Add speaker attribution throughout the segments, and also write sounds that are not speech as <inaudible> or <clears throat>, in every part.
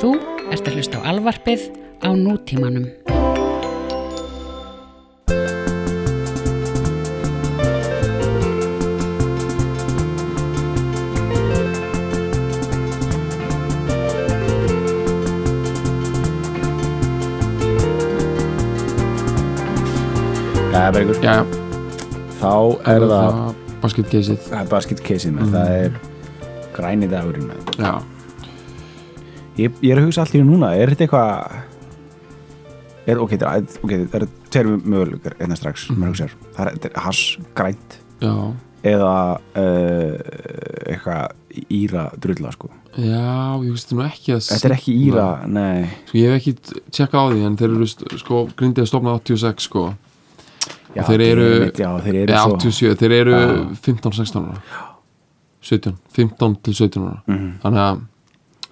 Speaker 1: Þú ert að hlusta á alvarpið á nútímanum.
Speaker 2: Jæja, Bergur,
Speaker 3: Já, já,
Speaker 2: þá er það
Speaker 3: basketgeysið
Speaker 2: það er basketkeysið
Speaker 3: Mm.
Speaker 2: með, það er græni dagurinn með.
Speaker 3: Já,
Speaker 2: Ég, ég er að hugsa allt í einu núna, er þetta eitthvað er, ok, það er, okay, það er tveir möguleikar einna strax,
Speaker 3: Mm.
Speaker 2: maður hugsa það er, þetta er hass grænt
Speaker 3: já,
Speaker 2: eða uh, eitthvað íra drulla, sko
Speaker 3: já, ég veist nú ekki að
Speaker 2: Þetta er ekki íra, nei
Speaker 3: Sko, ég hef ekki tjekka á því en þeir eru, st- sko, grindið að stofna 86, sko
Speaker 2: já,
Speaker 3: Og þeir eru,
Speaker 2: einmitt, já, þeir eru
Speaker 3: eða
Speaker 2: svo
Speaker 3: 87, þeir eru
Speaker 2: Já.
Speaker 3: 15, 16 ára 17, 15 til 17 ára
Speaker 2: Mhm.
Speaker 3: Þannig að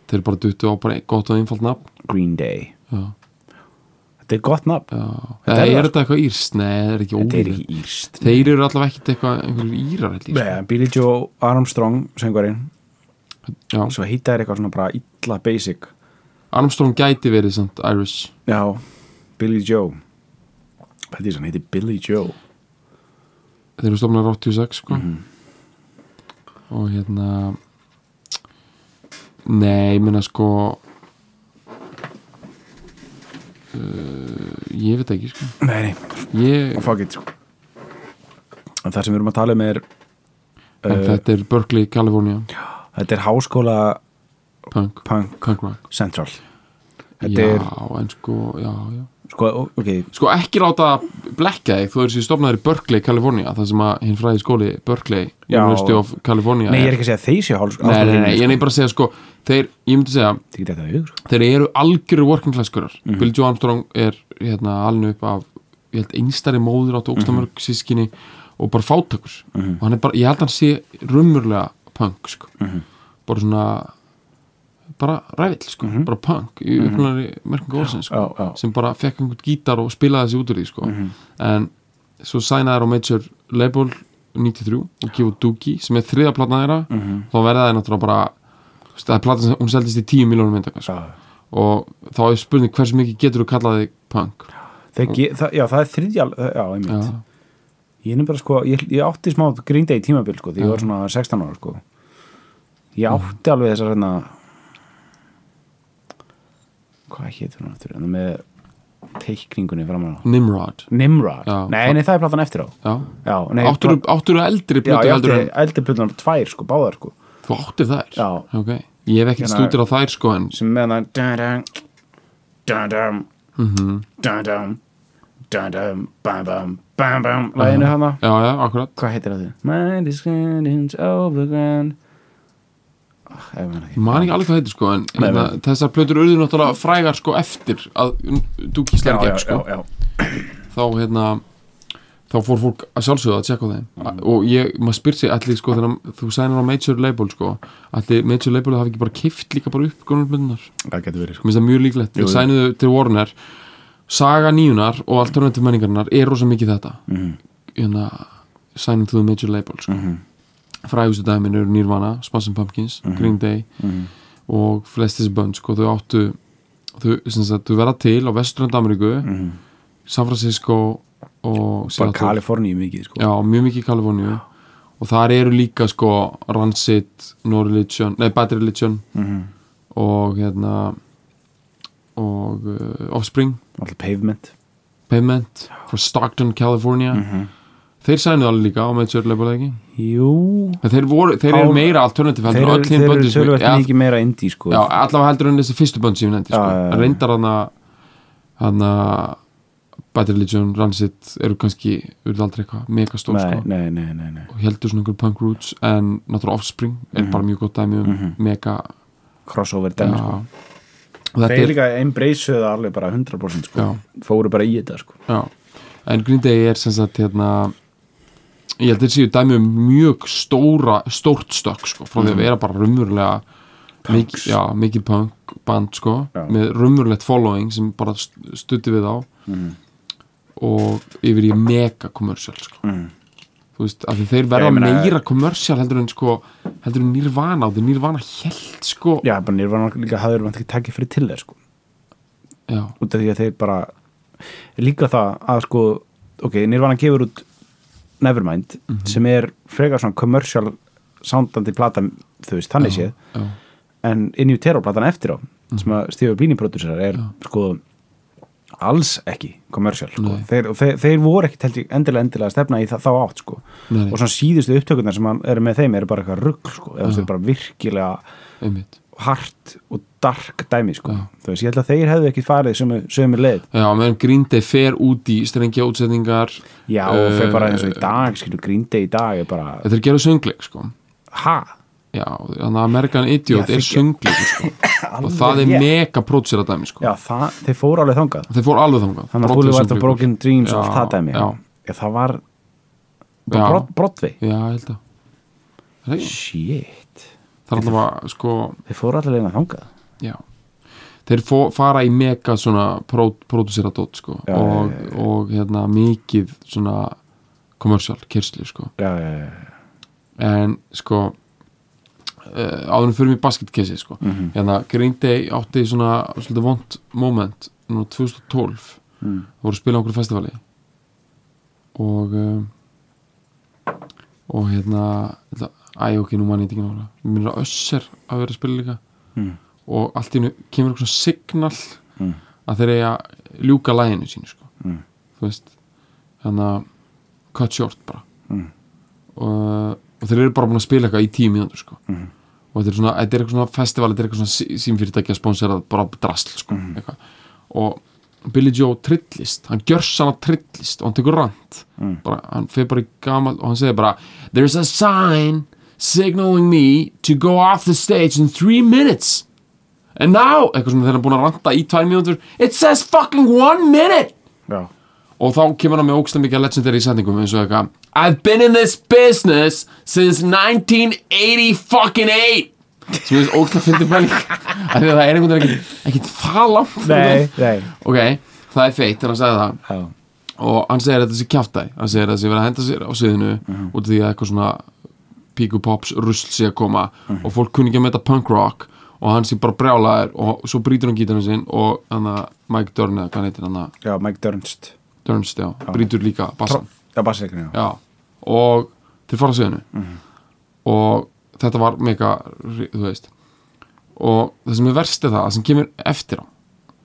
Speaker 3: þeir bara duttu á bara gott og einfalt nafn
Speaker 2: Green Day
Speaker 3: Já,
Speaker 2: Þetta er gott nafn,
Speaker 3: já
Speaker 2: Þetta
Speaker 3: Eða
Speaker 2: er það,
Speaker 3: er þetta eitthvað írst? Nei, það er ekki
Speaker 2: þetta er
Speaker 3: ólíð
Speaker 2: ekki írst
Speaker 3: Þeir eru allavega ekkert eitthvað, einhverjir írar held ég,
Speaker 2: Nei, Billy Joe Armstrong, söngvarinn
Speaker 3: sko. Já,
Speaker 2: svo heita er eitthvað svona bara illa basic
Speaker 3: Armstrong gæti verið samt Irish
Speaker 2: Já, Billy Joe Pettersson heiti Billy Joe
Speaker 3: þeir eru stofnar 86 sko.
Speaker 2: Mhm.
Speaker 3: og hérna nei, ég meina sko uh, ég veit ekki sko.
Speaker 2: Nei, nei,
Speaker 3: ég,
Speaker 2: fuck it sko. En það sem við erum að tala um er
Speaker 3: en
Speaker 2: uh,
Speaker 3: þetta er Berkeley, California
Speaker 2: Þetta er háskóla
Speaker 3: punk,
Speaker 2: punk
Speaker 3: punk rock
Speaker 2: central Þetta
Speaker 3: já,
Speaker 2: er,
Speaker 3: en sko, já, já
Speaker 2: sko, ok
Speaker 3: sko ekki láta blekka þig þú eru sér stofnaður í Berkeley, California það sem að hinn fræði skóli Berkeley
Speaker 2: Já.
Speaker 3: University of California
Speaker 2: Nei, ég
Speaker 3: er-
Speaker 2: er ekki að segja að þeir séu háskóla
Speaker 3: Nei, nei, nei, ég er bara að segja sko, þeir, ég myndi segja
Speaker 2: Þetta er þetta sko. að hugur
Speaker 3: þeir eru algjöru working class kurar
Speaker 2: Mhm.
Speaker 3: Bill Joe Armstrong er hérna alveg upp af, ég held einstari móður áttu
Speaker 2: Mhm.
Speaker 3: ókstamörg mm -hmm. sískinni og bara fátakur og hann er bara, ég held hann sé rumurlega punk sko
Speaker 2: Mhm.
Speaker 3: bara svona bara rævill sko, bara punk í upplunari merkingu orðsins sko
Speaker 2: Mhm. Já, Mhm. já.
Speaker 3: sem bara fekk einhvern gítar og spilaði þessi út úr því sko. en svo sænaði á Major Label 93 og gefur Doogie sem er þriða platna þeirra
Speaker 2: Mhm.
Speaker 3: þá verða það náttúrulega bara þú veist, það er platna sem hún seldist í 10 miljónum myndaka sko. og þá er spurning hversu mikið getur þú kallaði punk
Speaker 2: Þeir ge- það- Já, það er þriðja Já, einmitt
Speaker 3: Já.
Speaker 2: Ég er bara sko, ég, ég átti smá Green Day tímabil sko, því ég var svona 16 ára sko. Ég
Speaker 3: Mhm.
Speaker 2: átti alveg þessar hérna hvað hétur hún aftur, hérna með teikningunni framan á
Speaker 3: Nimrod
Speaker 2: Nimrod,
Speaker 3: Já.
Speaker 2: nei, nei, það er platan eftir á
Speaker 3: já.
Speaker 2: Já, nei,
Speaker 3: áttur,
Speaker 2: plat-
Speaker 3: áttur eldri
Speaker 2: Já,
Speaker 3: plötu
Speaker 2: ég
Speaker 3: heldur
Speaker 2: átti
Speaker 3: en
Speaker 2: eldri plötunar tvær sko, báðar sko
Speaker 3: þú áttir þær
Speaker 2: Já.
Speaker 3: Ok. ég hef ekkert
Speaker 2: Hérna-
Speaker 3: stútur á þær sko en
Speaker 2: sem með það dun-dun, dun-dun,
Speaker 3: Mhm.
Speaker 2: dun-dun, dun-dun, bam-bam, bam-bam læginu hana
Speaker 3: já já akkurat
Speaker 2: hvað heitir það því? Mind is grinding overground oh, ef maður
Speaker 3: Ég
Speaker 2: ekki
Speaker 3: man ekki alveg hvað heitir sko en
Speaker 2: Nei,
Speaker 3: hérna, þessar plötur urðu náttúrulega frægar sko eftir að Dookie
Speaker 2: Já,
Speaker 3: slær
Speaker 2: já,
Speaker 3: gegn sko
Speaker 2: já, já.
Speaker 3: þá hérna þá fór fólk að sjálfsögðu að tjekka á þeim mm. og ég, maður spyr sig allir sko þegar þú sænar á major label sko allir major label hafi ekki bara kift líka bara upp grunnmyndunar, mér
Speaker 2: það getur verið sko.
Speaker 3: finnst það mjög líklegt
Speaker 2: Jú,
Speaker 3: þeir
Speaker 2: jú.
Speaker 3: sænuðu til Warner saga nýjunar og alternativ menningarnar er rosa mikið þetta mm.
Speaker 2: Mhm,
Speaker 3: hérna, signing to the major label sko. mm frægustu dæmin eru Nirvana Smash Pumpkins,
Speaker 2: Mhm.
Speaker 3: Green Day og flestis bönd sko þau áttu þau, sem sagt, þau verða til á Vesturland Ameríku San Francisco og
Speaker 2: Mm. mhm. bara
Speaker 3: Seattle.
Speaker 2: Kaliforníu mikið sko.
Speaker 3: Já, mjög mikið í Kaliforníu og þar eru líka sko Rancid, No Religion, nei Bad Religion
Speaker 2: Mm.
Speaker 3: og hérna og uh, Offspring
Speaker 2: alltaf pavement
Speaker 3: Payment frá Stockton, California
Speaker 2: Mhm.
Speaker 3: þeir sænuðu alveg líka á Major Label eða ekki
Speaker 2: jú,
Speaker 3: En þeir, voru, þeir eru
Speaker 2: Á-
Speaker 3: meira alternative
Speaker 2: þeir
Speaker 3: heldur en
Speaker 2: eru,
Speaker 3: öll hin
Speaker 2: þeir eru
Speaker 3: böndin sem-
Speaker 2: tölvöld
Speaker 3: Já,
Speaker 2: mikið meira indie sko.
Speaker 3: Já, allavega heldur en þessi fyrstu bönd sem ég nefndi sko.
Speaker 2: Já, já, já.
Speaker 3: reyndar hana hana Bad Religion, Rancid eru kannski urðu aldrei eitthvað megastór
Speaker 2: nei,
Speaker 3: sko.
Speaker 2: nei, nei, nei, nei.
Speaker 3: og heldur svona einhver punk roots en náttúrulega Offspring er bara mjög gott dæmi um mega
Speaker 2: crossover
Speaker 3: já,
Speaker 2: Mhm. dæmi sko.
Speaker 3: og þetta
Speaker 2: þeir
Speaker 3: er
Speaker 2: líka embraceuðu það alveg bara 100% sko.
Speaker 3: Já.
Speaker 2: fóru bara í þetta sko.
Speaker 3: já. en Green Day er sem sagt hérna ég heldur séu dæmi um mjög stóra stórt stökk sko, frá
Speaker 2: Mhm.
Speaker 3: því að vera bara raunverulega mikið, já, mikið punk band sko,
Speaker 2: Já.
Speaker 3: með raunverulegt following sem bara st-
Speaker 2: Mhm.
Speaker 3: studdi við á og yfir í mega commercial sko.
Speaker 2: Mhm.
Speaker 3: þú veist, af því þeir verða
Speaker 2: ég meina-
Speaker 3: meira kommersial heldur en sko, heldur en nýrvana og þeir nýrvana held sko
Speaker 2: já, bara nýrvana líka hafður mann ekki takið fyrir til þeir sko.
Speaker 3: já,
Speaker 2: út af því að þeir bara líka það að sko ok, nýrvana gefur út Nevermind
Speaker 3: Mhm.
Speaker 2: sem er frekar svona commercial soundandi plata þú veist, þannig séð
Speaker 3: já, Mhm.
Speaker 2: en inn í terrorplatan eftir á sem að Steve Blini prodúsar er sko alls ekki kommersial sko.
Speaker 3: Nei.
Speaker 2: þeir, og þeir, þeir voru ekki held ég, endilega endilega að stefna í það, þá átt sko.
Speaker 3: Nei, nei.
Speaker 2: og svona síðustu upptökurnar sem hann eru með þeim eru bara eitthvað rugg sko. eða þeir eru bara virkilega
Speaker 3: einmitt
Speaker 2: hart og dark dæmi sko. þú veist, ég held að þeir hefðu ekki farið sömu, sömu leið
Speaker 3: já, meðan Green Day fer út í strengja útsetningar
Speaker 2: já, og þeir bara eins og í
Speaker 3: Eh,
Speaker 2: dag skilur gríndi í dag er bara,
Speaker 3: þeir gerðu söngleik sko
Speaker 2: ha
Speaker 3: já, þannig að American Idiot
Speaker 2: Já,
Speaker 3: er
Speaker 2: þykir-
Speaker 3: söngleik
Speaker 2: <laughs>
Speaker 3: sko. og það er
Speaker 2: rétt.
Speaker 3: mega prótsera dæmi sko
Speaker 2: já, það, þeir fóru alveg þangað
Speaker 3: þeir fór alveg þangað
Speaker 2: þannig að
Speaker 3: Broadway
Speaker 2: Búli var þetta
Speaker 3: söngleikur.
Speaker 2: Broken Dreams og
Speaker 3: Já,
Speaker 2: allt það dæmi
Speaker 3: já,
Speaker 2: Ég, það var
Speaker 3: Já.
Speaker 2: bara brotvi
Speaker 3: já, ég held að Er það ekki?
Speaker 2: Shit
Speaker 3: það er alltaf að sko
Speaker 2: Þeir fóru allir einn að þangað
Speaker 3: já þeir fó, fara í mega svona pródusera dót sko
Speaker 2: Já,
Speaker 3: og, og hérna mikið svona kommersial kyrsli sko
Speaker 2: Já, já, já
Speaker 3: en sko uh, áðurum fyrir mig basketkessi sko
Speaker 2: Mhm.
Speaker 3: hérna Green Day átti svona svolítið vond moment nú 2012
Speaker 2: Mm.
Speaker 3: voru að spila á okkur festivali og um, og hérna ætla- æ ok, nú mann ég þetta ekki nála minnur að össer að vera að spila líka
Speaker 2: Mm.
Speaker 3: og allt í hennu kemur eitthvað svona signal að þeir eiga að ljúka læginu sínu sko
Speaker 2: Mm.
Speaker 3: þú veist þannig að cut short bara
Speaker 2: Mm.
Speaker 3: og, og þeir eru bara búin að spila eitthvað í tíu mínútur sko. og þetta er svona, þetta er eitthvað svona festival, þetta er eitthvað svona símfyrirtæki að sponsera bara drasl sko, eitthvað. og Billy Joe trillist hann gjörs hann að trillist og hann tekur rant bara, hann fer bara í gamal og hann segir bara there's a sign signaling me to go off the stage in three minutes and now, eitthvað svona þeir eru búin að ranta í tvær mínútur it says fucking one minute
Speaker 2: Já,
Speaker 3: og þá kemur hann með ógsta mikið legendary setningum eins og eitthvað I've been in this business since 1980 fucking 8 sem ég veist ógsta fyndið pæling <laughs> af því að það er einhvern veginn ekkit, ekkit það langt
Speaker 2: nei, nei
Speaker 3: ok, það er feitt þegar hann sagði það
Speaker 2: Já,
Speaker 3: og hann segir þetta sé kjáftæg hann segir þetta sé verið að henda sér á sviðinu út af því að eitthvað svona píku pops rusl sé að koma og fólk kunni ekki að meta punk rock og hann sé bara brjálaður og svo brýtur hann gítarinn sinn og hann að Mike Dörn eða hvað hann heitir hann að
Speaker 2: já Mike Dernst
Speaker 3: Dörnst, já, brýtur líka bassan
Speaker 2: Já, bassleikurinn, já
Speaker 3: já, og til fara sviðinu
Speaker 2: Mhm.
Speaker 3: og þetta var mega, þú veist og það sem er verst er það að sem kemur eftir á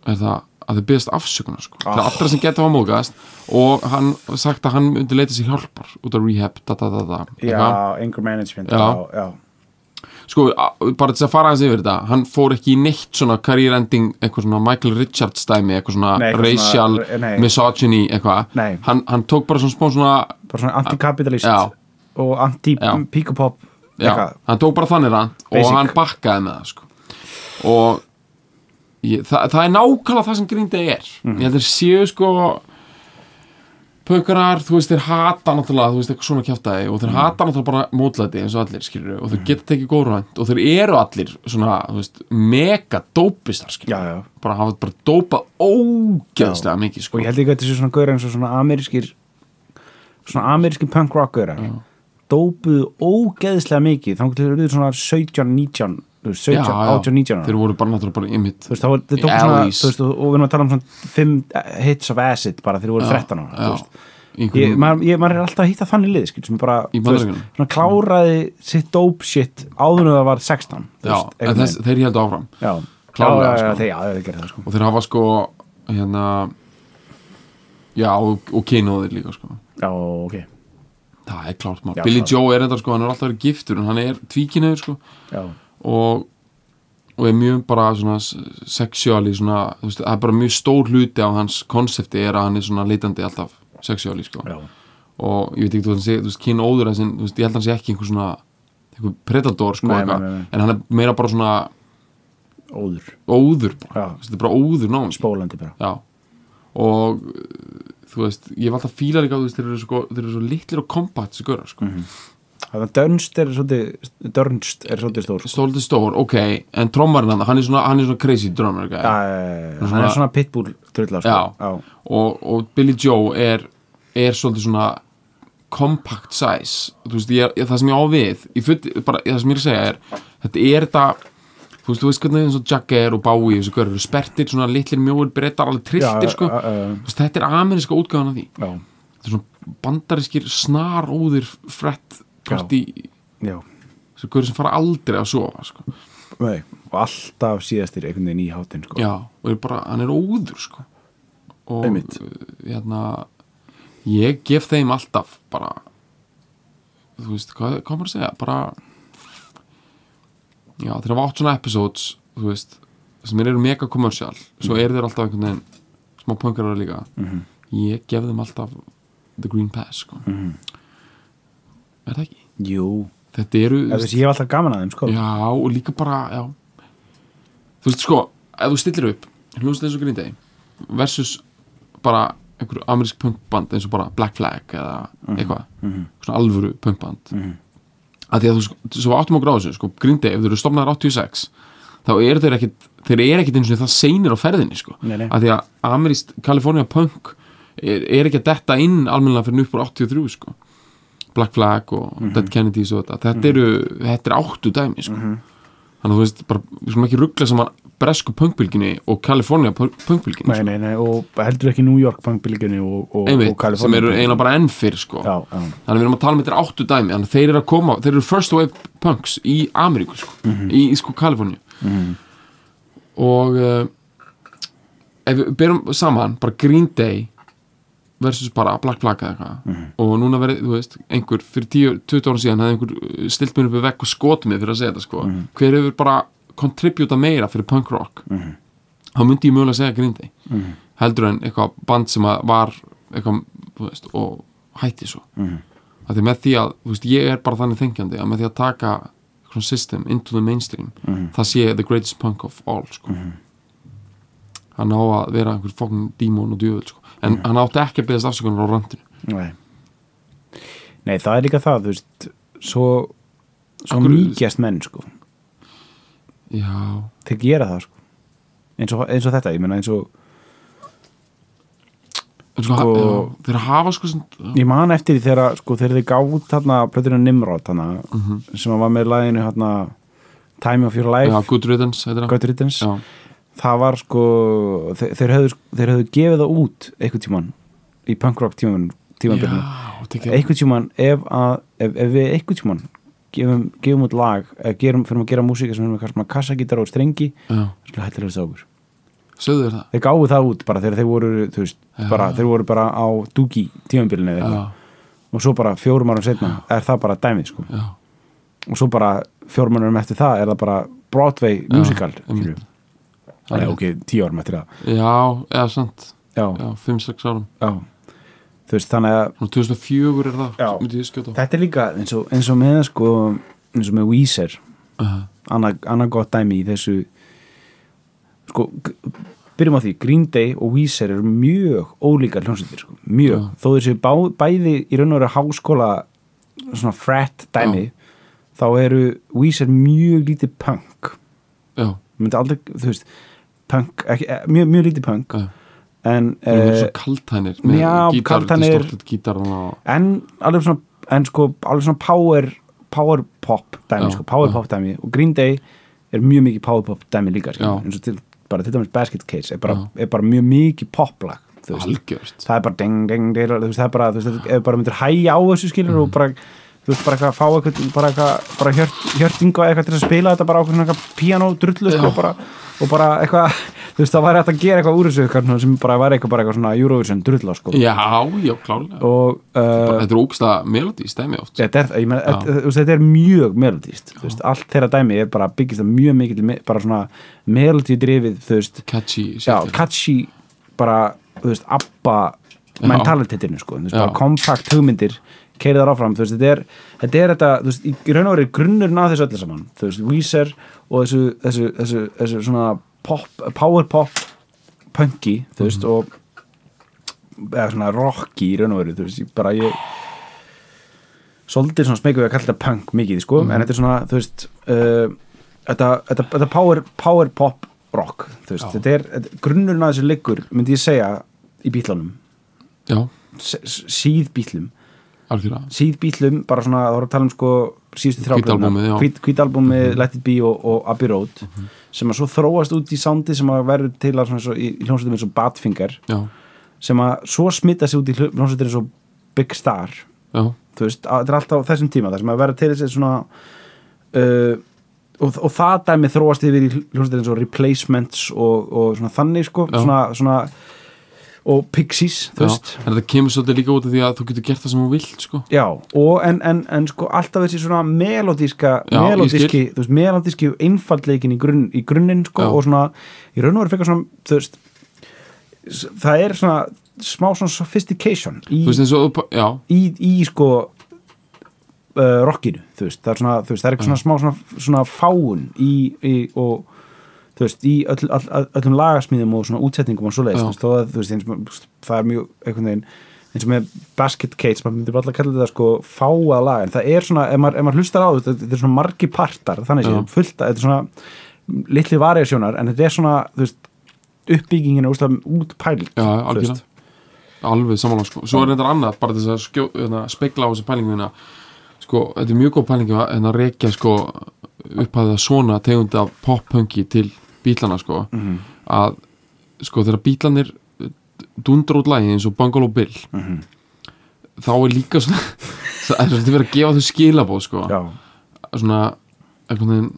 Speaker 3: er það að þau byggðast afsökunar sko. oh.
Speaker 2: Ah.
Speaker 3: til allra sem geta hafa móðgast og hann sagt að hann myndi leita sér hjálpar út af rehab, da da da da eitthvað.
Speaker 2: Já, Anger Management
Speaker 3: Já.
Speaker 2: Já, já
Speaker 3: sko, a- bara til að fara aðeins yfir þetta hann fór ekki í neitt svona career ending eitthvað svona Michael Richards dæmi eitthvað svona
Speaker 2: Nei, eitthvað
Speaker 3: racial
Speaker 2: svona- nei.
Speaker 3: misogyny eitthvað,
Speaker 2: Nei.
Speaker 3: hann, hann tók bara svona smá svona
Speaker 2: Bara svona anti-capitalist
Speaker 3: Já.
Speaker 2: Og
Speaker 3: Já.
Speaker 2: anti-píkupop
Speaker 3: Já, hann tók bara þannig rand og
Speaker 2: Basic.
Speaker 3: hann bakkaði með það sko. og ég, það, það er nákvæmlega það sem gríndið er
Speaker 2: Mhm.
Speaker 3: ég held þeir séu sko pökkarar, þú veist, þeir hata náttúrulega, þú veist, eitthvað svona kjáftæði og þeir
Speaker 2: Mhm.
Speaker 3: hata náttúrulega bara mótlæti eins og allir, skilur og þeir geta tekið góðrönd og þeir eru allir svona, þú veist, mega dópistar, skilur
Speaker 2: Já, já
Speaker 3: bara hafa bara dópað ógeðslega mikið,
Speaker 2: Og
Speaker 3: sko
Speaker 2: ég held ekki að þetta sé svona gauður eins og svona amerískir Svona amerískir punk rock gaurar Dópuðu ógeðslega mikið Þannig til þeir eru svona 17, 19 þú veist, 17, 18, 19 ára.
Speaker 3: þeir voru bara náttúrulega bara ymmit
Speaker 2: þú veist, þá var, þeir
Speaker 3: Í
Speaker 2: tók svona,
Speaker 3: alleys.
Speaker 2: þú veist, og og við erum að tala um svona fimm eh, hits of acid bara þegar þú voru 13 ára, þú veist ég, maður, ég, maður er alltaf að hitta þannig lið, skil, sem bara,
Speaker 3: Í
Speaker 2: þú veist,
Speaker 3: Bandaríkjunum.
Speaker 2: svona kláraði sitt dope shit áður en það var 16, þú
Speaker 3: Já,
Speaker 2: veist,
Speaker 3: en
Speaker 2: einhvern
Speaker 3: þess,
Speaker 2: veginn.
Speaker 3: þeir held áfram
Speaker 2: já,
Speaker 3: klárlega,
Speaker 2: kláraði,
Speaker 3: sko.
Speaker 2: sko. já, þeir gerði það, sko
Speaker 3: og þeir hafa sko hérna já og, og kynóðir líka sko
Speaker 2: já, ok,
Speaker 3: það er klárt
Speaker 2: Já,
Speaker 3: maður, Billy
Speaker 2: klárt.
Speaker 3: Joe er þetta sko hann er alltaf verið giftur en hann er tvíkinuður sko
Speaker 2: já,
Speaker 3: og, og er mjög bara svona sexuáli svona, þú veist, það er bara mjög stór hluti á hans konsepti er að hann er svona leitandi alltaf sexuáli sko
Speaker 2: já
Speaker 3: og ég veit ekki þú veist, þú veist kynóður en þú veist, ég held að hann sé ekki einhver svona einhver predator sko
Speaker 2: Nei, nei,
Speaker 3: eitthvað.
Speaker 2: nei, nei.
Speaker 3: en hann er meira bara svona
Speaker 2: óður,
Speaker 3: óður bara,
Speaker 2: Já.
Speaker 3: Þú veist, þetta er bara óður sko. náum
Speaker 2: spólandi bara
Speaker 3: Já og uh, þú veist, ég var alltaf að fíla líka þú veist, þeir eru svo, þeir eru svo litlir og kompakt þessi görar, sko,
Speaker 2: Mhm. þannig að dönst er svolítið, dönst er svolítið stór, sko
Speaker 3: stóldi stór, ok en trommarinn hann, hann er svona, hann er svona crazy drummer
Speaker 2: já,
Speaker 3: ja.
Speaker 2: hann er svona pitbull trullar, sko,
Speaker 3: Já. og, og Billy Joe er er svolítið svona compact size þú veist, ég, ég, það sem ég á við ég full, bara, það sem ég er að segja er þetta er þetta þú veist, þú veist hvernig eins og Jack er og Bowie þessu görur, spertir svona litlir mjóir brettar
Speaker 2: Já,
Speaker 3: alveg trilltir sko
Speaker 2: já, já, já.
Speaker 3: Þú veist, þetta er ameríska útgáðan af því
Speaker 2: já,
Speaker 3: þetta er svona bandarískir snaróðir frett party
Speaker 2: já
Speaker 3: þessu görur sem fara aldrei að sofa sko.
Speaker 2: Nei, og alltaf síðastir einhvern veginn í hátinn sko.
Speaker 3: já, og er bara, hann er óður sko. og
Speaker 2: Einmitt.
Speaker 3: uh, hérna ég gef þeim alltaf bara þú veist, hvað, hvað maður að segja bara já, þeir hafa átt svona episodes þú veist, sem eru mega kommersial
Speaker 2: Mhm.
Speaker 3: svo eru þeir alltaf einhvern veginn smá punkarar líka -hmm. ég gef þeim alltaf the green pass sko. mm
Speaker 2: Mhm.
Speaker 3: -hmm. er það ekki?
Speaker 2: Jú,
Speaker 3: þetta eru, þú
Speaker 2: Eða,
Speaker 3: veist,
Speaker 2: þessi, ég hef alltaf gaman að þeim sko.
Speaker 3: Já, og líka bara, já Þú veist, sko, ef þú stillir upp hljóðslega eins og Green Day versus bara einhver amerísk punkband eins og bara Black Flag eða
Speaker 2: Mhm,
Speaker 3: eitthvað, svona alvöru punkband mm -hmm. að því að þú, sko, svo við áttum okkur á þessu, sko, Green Day, ef þeir eru stopnaðar 86, þá eru þeir ekkit þeir eru ekkit eins og það seinir á ferðinni, sko
Speaker 2: Nei, nei.
Speaker 3: að því að amerísk California punk er, er ekki að detta inn almennilega fyrir upp úr 83, sko Black Flag og
Speaker 2: Mhm.
Speaker 3: Dead Kennedys og þetta þetta eru, þetta er áttu dæmi sko.
Speaker 2: Mhm.
Speaker 3: þannig að þú veist, bara við skulum ekki ruggla saman bresku punkbylginni og California punk- punkbylginni
Speaker 2: nei, nei, nei, og heldur ekki New York bankbylginni og, og, og
Speaker 3: einmitt, sem eru eiginlega bara enn fyrr sko.
Speaker 2: Já, já,
Speaker 3: þannig að við erum að tala með þetta er áttu dæmi þannig að þeir eru að koma, þeir eru first wave punks í Ameríku, sko, í, í sko Kaliforníu og uh, ef við berum saman bara Green Day versus bara Black Flag eða eitthvað og núna verið, þú veist, einhver fyrir 10, 20 ára síðan hefði einhver uh, stilt mér upp við vekk og skot mig fyrir að segja þetta sko hver hefur bara kontributa meira fyrir punk rock þá myndi ég mögulega segja Green Day heldur en eitthvað band sem að var eitthvað, þú veist, og hætti svo að því með því að, þú veist, ég er bara þannig þengjandi að með því að taka eitthvað system into the mainstream það sé the greatest punk of all sko hann á að vera einhver fokkin dímon og djöfull sko. en hann átti ekki að beðast afsökunar á randinu
Speaker 2: nei Nei, það er líka það, þú veist svo, svo
Speaker 3: Akkur-
Speaker 2: mýkjast menn sko.
Speaker 3: já,
Speaker 2: þeir gera það sko. eins, og, eins og þetta, ég meina eins og
Speaker 3: en sko,
Speaker 2: Sko-
Speaker 3: sko... já þeir hafa sko sem, já,
Speaker 2: ég man eftir því þegar sko, þegar þið gáð þarna plötuna Nimrod þarna, sem var með læginu þarna, Time of Your Life
Speaker 3: Mhm. já, good riddance heitir það.
Speaker 2: God Riddance
Speaker 3: já,
Speaker 2: það var sko þe þeir höfðu, þeir höfðu gefið það út einhvern tíman í punkrock tíman, tímanbyrnu
Speaker 3: já, tekið
Speaker 2: einhvern tíman ef, að, ef, ef við einhvern tíman gefum, gefum út lag eða gerum, fyrir að gera músíka sem er með svona kassagítar og strengi
Speaker 3: já,
Speaker 2: skulum hættilega þess að okkur
Speaker 3: sögðu þér það
Speaker 2: þeir gáðu það út bara þegar þeir voru þú veist,
Speaker 3: Já.
Speaker 2: bara, þeir voru bara á dúki tímanbyrnu eða
Speaker 3: já,
Speaker 2: eitthvað og svo bara fjórum árum setna er það bara dæmið sko
Speaker 3: já,
Speaker 2: og svo bara fjórum árum eftir það er það bara Broadway musical skilju.
Speaker 3: einmitt. Það
Speaker 2: Nei,
Speaker 3: er-
Speaker 2: ok, tíu árum eftir það
Speaker 3: já, eða sant
Speaker 2: já,
Speaker 3: já, 5-6 árum,
Speaker 2: já. þú veist þannig að
Speaker 3: svona 2004 er það
Speaker 2: Já.
Speaker 3: myndi ég skjóta á.
Speaker 2: þetta er líka eins og, eins og með sko eins og með Weezer
Speaker 3: Aha,
Speaker 2: annað anna gott dæmi í þessu sko g- byrjum á því, Green Day og Weezer eru mjög ólíkar hljómsveitir sko, mjög,
Speaker 3: Já.
Speaker 2: þó þessi bá, bæði í raun og veru háskóla svona frat dæmi þá eru Weezer mjög lítið punk
Speaker 3: já,
Speaker 2: myndi aldrei, þú veist punk, ekki, eh, mjög, mjög lítið punk
Speaker 3: já
Speaker 2: en,
Speaker 3: Þeir eru
Speaker 2: uh,
Speaker 3: svo kaltænir með
Speaker 2: já,
Speaker 3: gítar,
Speaker 2: kaltænir.
Speaker 3: distorted gítar og,
Speaker 2: en alveg svona en sko, alveg svona power power pop dæmi,
Speaker 3: Já,
Speaker 2: sko, power
Speaker 3: já.
Speaker 2: pop dæmi og Green Day er mjög mikið power pop dæmi líka, sko,
Speaker 3: Já.
Speaker 2: eins og til bara til dæmis Basket Case er bara, er bara mjög mikið poplag, þú veist,
Speaker 3: algjörst
Speaker 2: það er bara ding, ding, ding, þú veist, það er bara, þú veist, ef þú bara myndir hæja á þessu skilur
Speaker 3: Mm.
Speaker 2: og bara þú veist, bara eitthvað að fá eitthvað, bara eitthvað bara hjört, hjörtingu eða eitthvað til að spila þetta bara á eitthvað svona eitthvað píanó drullu, sko, bara og bara eitthvað, <laughs> þú veist, það væri hægt að gera eitthvað úr þessu eitthvað svona sem bara væri eitthvað bara eitthvað svona Eurovision drullu, sko,
Speaker 3: já, já, klárlega
Speaker 2: og uh,
Speaker 3: Bara- þetta er ógsta melodí, stæmi oft
Speaker 2: þetta er, ég meina, þetta- þú veist, þetta er mjög melodíst, þú veist, allt þeirra dæmi er bara byggist það mjög mikil, me- bara svona melodídrifið, þú veist,
Speaker 3: catchy
Speaker 2: já,
Speaker 3: shit.
Speaker 2: catchy bara, þú veist, abba mentalitetinu, sko, þú veist, bara
Speaker 3: Já.
Speaker 2: kompakt hugmyndir, keirðar áfram, þú veist, þetta er þetta er þetta, þú veist, í raun og verið grunnurinn að þessu öllu saman, þú veist, Weezer og þessu, þessu, þessu, þessu svona pop, power pop punky, þú veist,
Speaker 3: Mhm.
Speaker 2: og eða svona rocki í raun og verið, þú veist, ég bara ég svolítið svona smekum við að kalla þetta punk mikið sko,
Speaker 3: Mhm.
Speaker 2: en þetta er svona, þú veist uh, þetta, þetta, þetta power, power pop rock, þú veist,
Speaker 3: Já.
Speaker 2: þetta er þetta, grunnurinn að þessu liggur, myndi ég segja í bítlunum,
Speaker 3: já,
Speaker 2: síð bítlum
Speaker 3: já, algjörlega
Speaker 2: síð bílum, bara svona það voru að tala um sko síðustu
Speaker 3: Hvíta albúmið, já. Mhm.
Speaker 2: þrjáblöðunar kvítalbumi, mm -hmm. Let It Be og, og Abbey Road sem að svo þróast út í sándi sem að verður til að svona svo, í, í hljómsveitum eins og Badfinger
Speaker 3: já,
Speaker 2: sem að svo smitta sig út í hljómsveitum eins og Big Star
Speaker 3: já,
Speaker 2: þú veist, að, þetta er alltaf á þessum tíma það sem að verður til þessi svona uh, og, og það dæmi þróast yfir í hljómsveitum eins og Replacements og, og svona þannig sko
Speaker 3: Já.
Speaker 2: svona, svona og Pixies, þú
Speaker 3: já.
Speaker 2: veist
Speaker 3: en þetta kemur svolítið líka út af því að þú getur gert það sem þú vilt sko.
Speaker 2: Já, og en, en, en sko alltaf þessi svona melodíska,
Speaker 3: Já, ég
Speaker 2: melodíski, þú veist, melodíski og einfaldleikin í, grunn, í grunninn sko
Speaker 3: Já.
Speaker 2: og svona, í raun og verið fekar svona, þú veist, s- það er svona smá svona sophistication í,
Speaker 3: þú veist eins og, þú pa- já,
Speaker 2: í, í sko uh, rockinu, þú veist, það er svona, þú veist, það er eitthvað svona smá svona, svona fáun í, í og þú veist, í öll, öll, öll, öllum lagasmíðum og svona útsetningum og svoleiðis,
Speaker 3: Já.
Speaker 2: þú veist, þó að þú veist, eins, og maður- það er mjög einhvern veginn eins og með basket case, maður myndir bara alltaf að kalla þetta sko fáa lag, en það er svona ef maður, ef maður hlustar á þetta, þetta er svona margi partar þannig
Speaker 3: Já.
Speaker 2: séð, fullt, að- þetta er svona litli variasjónar, en þetta er svona þú veist, uppbyggingin er úrslega útpælt,
Speaker 3: já,
Speaker 2: þú
Speaker 3: algjörlega
Speaker 2: veist
Speaker 3: alveg samanlega sko. svo er reyndar annað, bara þess að skjó, hérna, spegla á þessu pælingu hérna. sko, þetta er mjög góð pælingu að hérna, rekja sko, upphæða svona tegund af pop-punki til bílana sko.
Speaker 2: Mhm.
Speaker 3: að sko, þegar bílanir dundur út lagi eins og Bungalow Bill
Speaker 2: Mhm.
Speaker 3: þá er líka svona <laughs> það er svolítið verið að gefa þau skilabóð sko.
Speaker 2: Já,
Speaker 3: svona einhvern veginn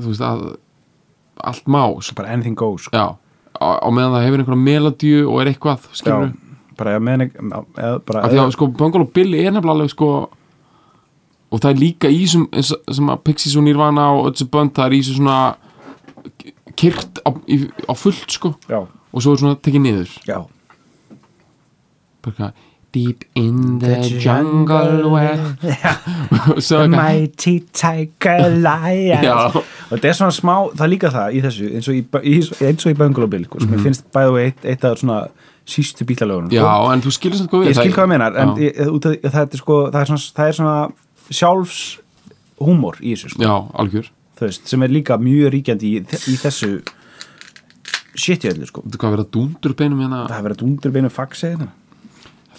Speaker 3: þú veist að allt má sko.
Speaker 2: bara anything goes sko.
Speaker 3: já, á, á meðan það hefur einhverja melodíu og er eitthvað, skilur
Speaker 2: Já, bara að meðan eða bara
Speaker 3: að því að sko Bungalow Bill er nefnilega alveg sko og það er líka í sem, sem að Pixies og Nirvana og öll sem bönd það er í þessu svona kyrkt á, í, á fullt sko
Speaker 2: já,
Speaker 3: og svo er svona tekið niður
Speaker 2: já,
Speaker 3: bara eitthvað, Deep in the
Speaker 2: The
Speaker 3: jungle where <laughs> Svo
Speaker 2: The
Speaker 3: eitthvað
Speaker 2: mighty tiger lion
Speaker 3: Já.
Speaker 2: og þetta er svona smá, það er líka það í þessu eins og í, í, eins og í Bungalow Bill sko, sem mm finnst bæðu eitt, eitt af svona sístu bílalögunum
Speaker 3: Mhm.
Speaker 2: sko.
Speaker 3: Já, en þú skilur þetta hvað við
Speaker 2: ég skil hvað það meinar, en
Speaker 3: já,
Speaker 2: ég, út af því að þetta er sko, það er svona, það er svona sjálfs húmor í þessu sko,
Speaker 3: já, algjör
Speaker 2: þú veist, sem er líka mjög ríkjandi í, í þessu shit í öllu sko
Speaker 3: Þetta hvað verið að dúndur beinum hérna
Speaker 2: það hefur verið dundur beinu faxi þetta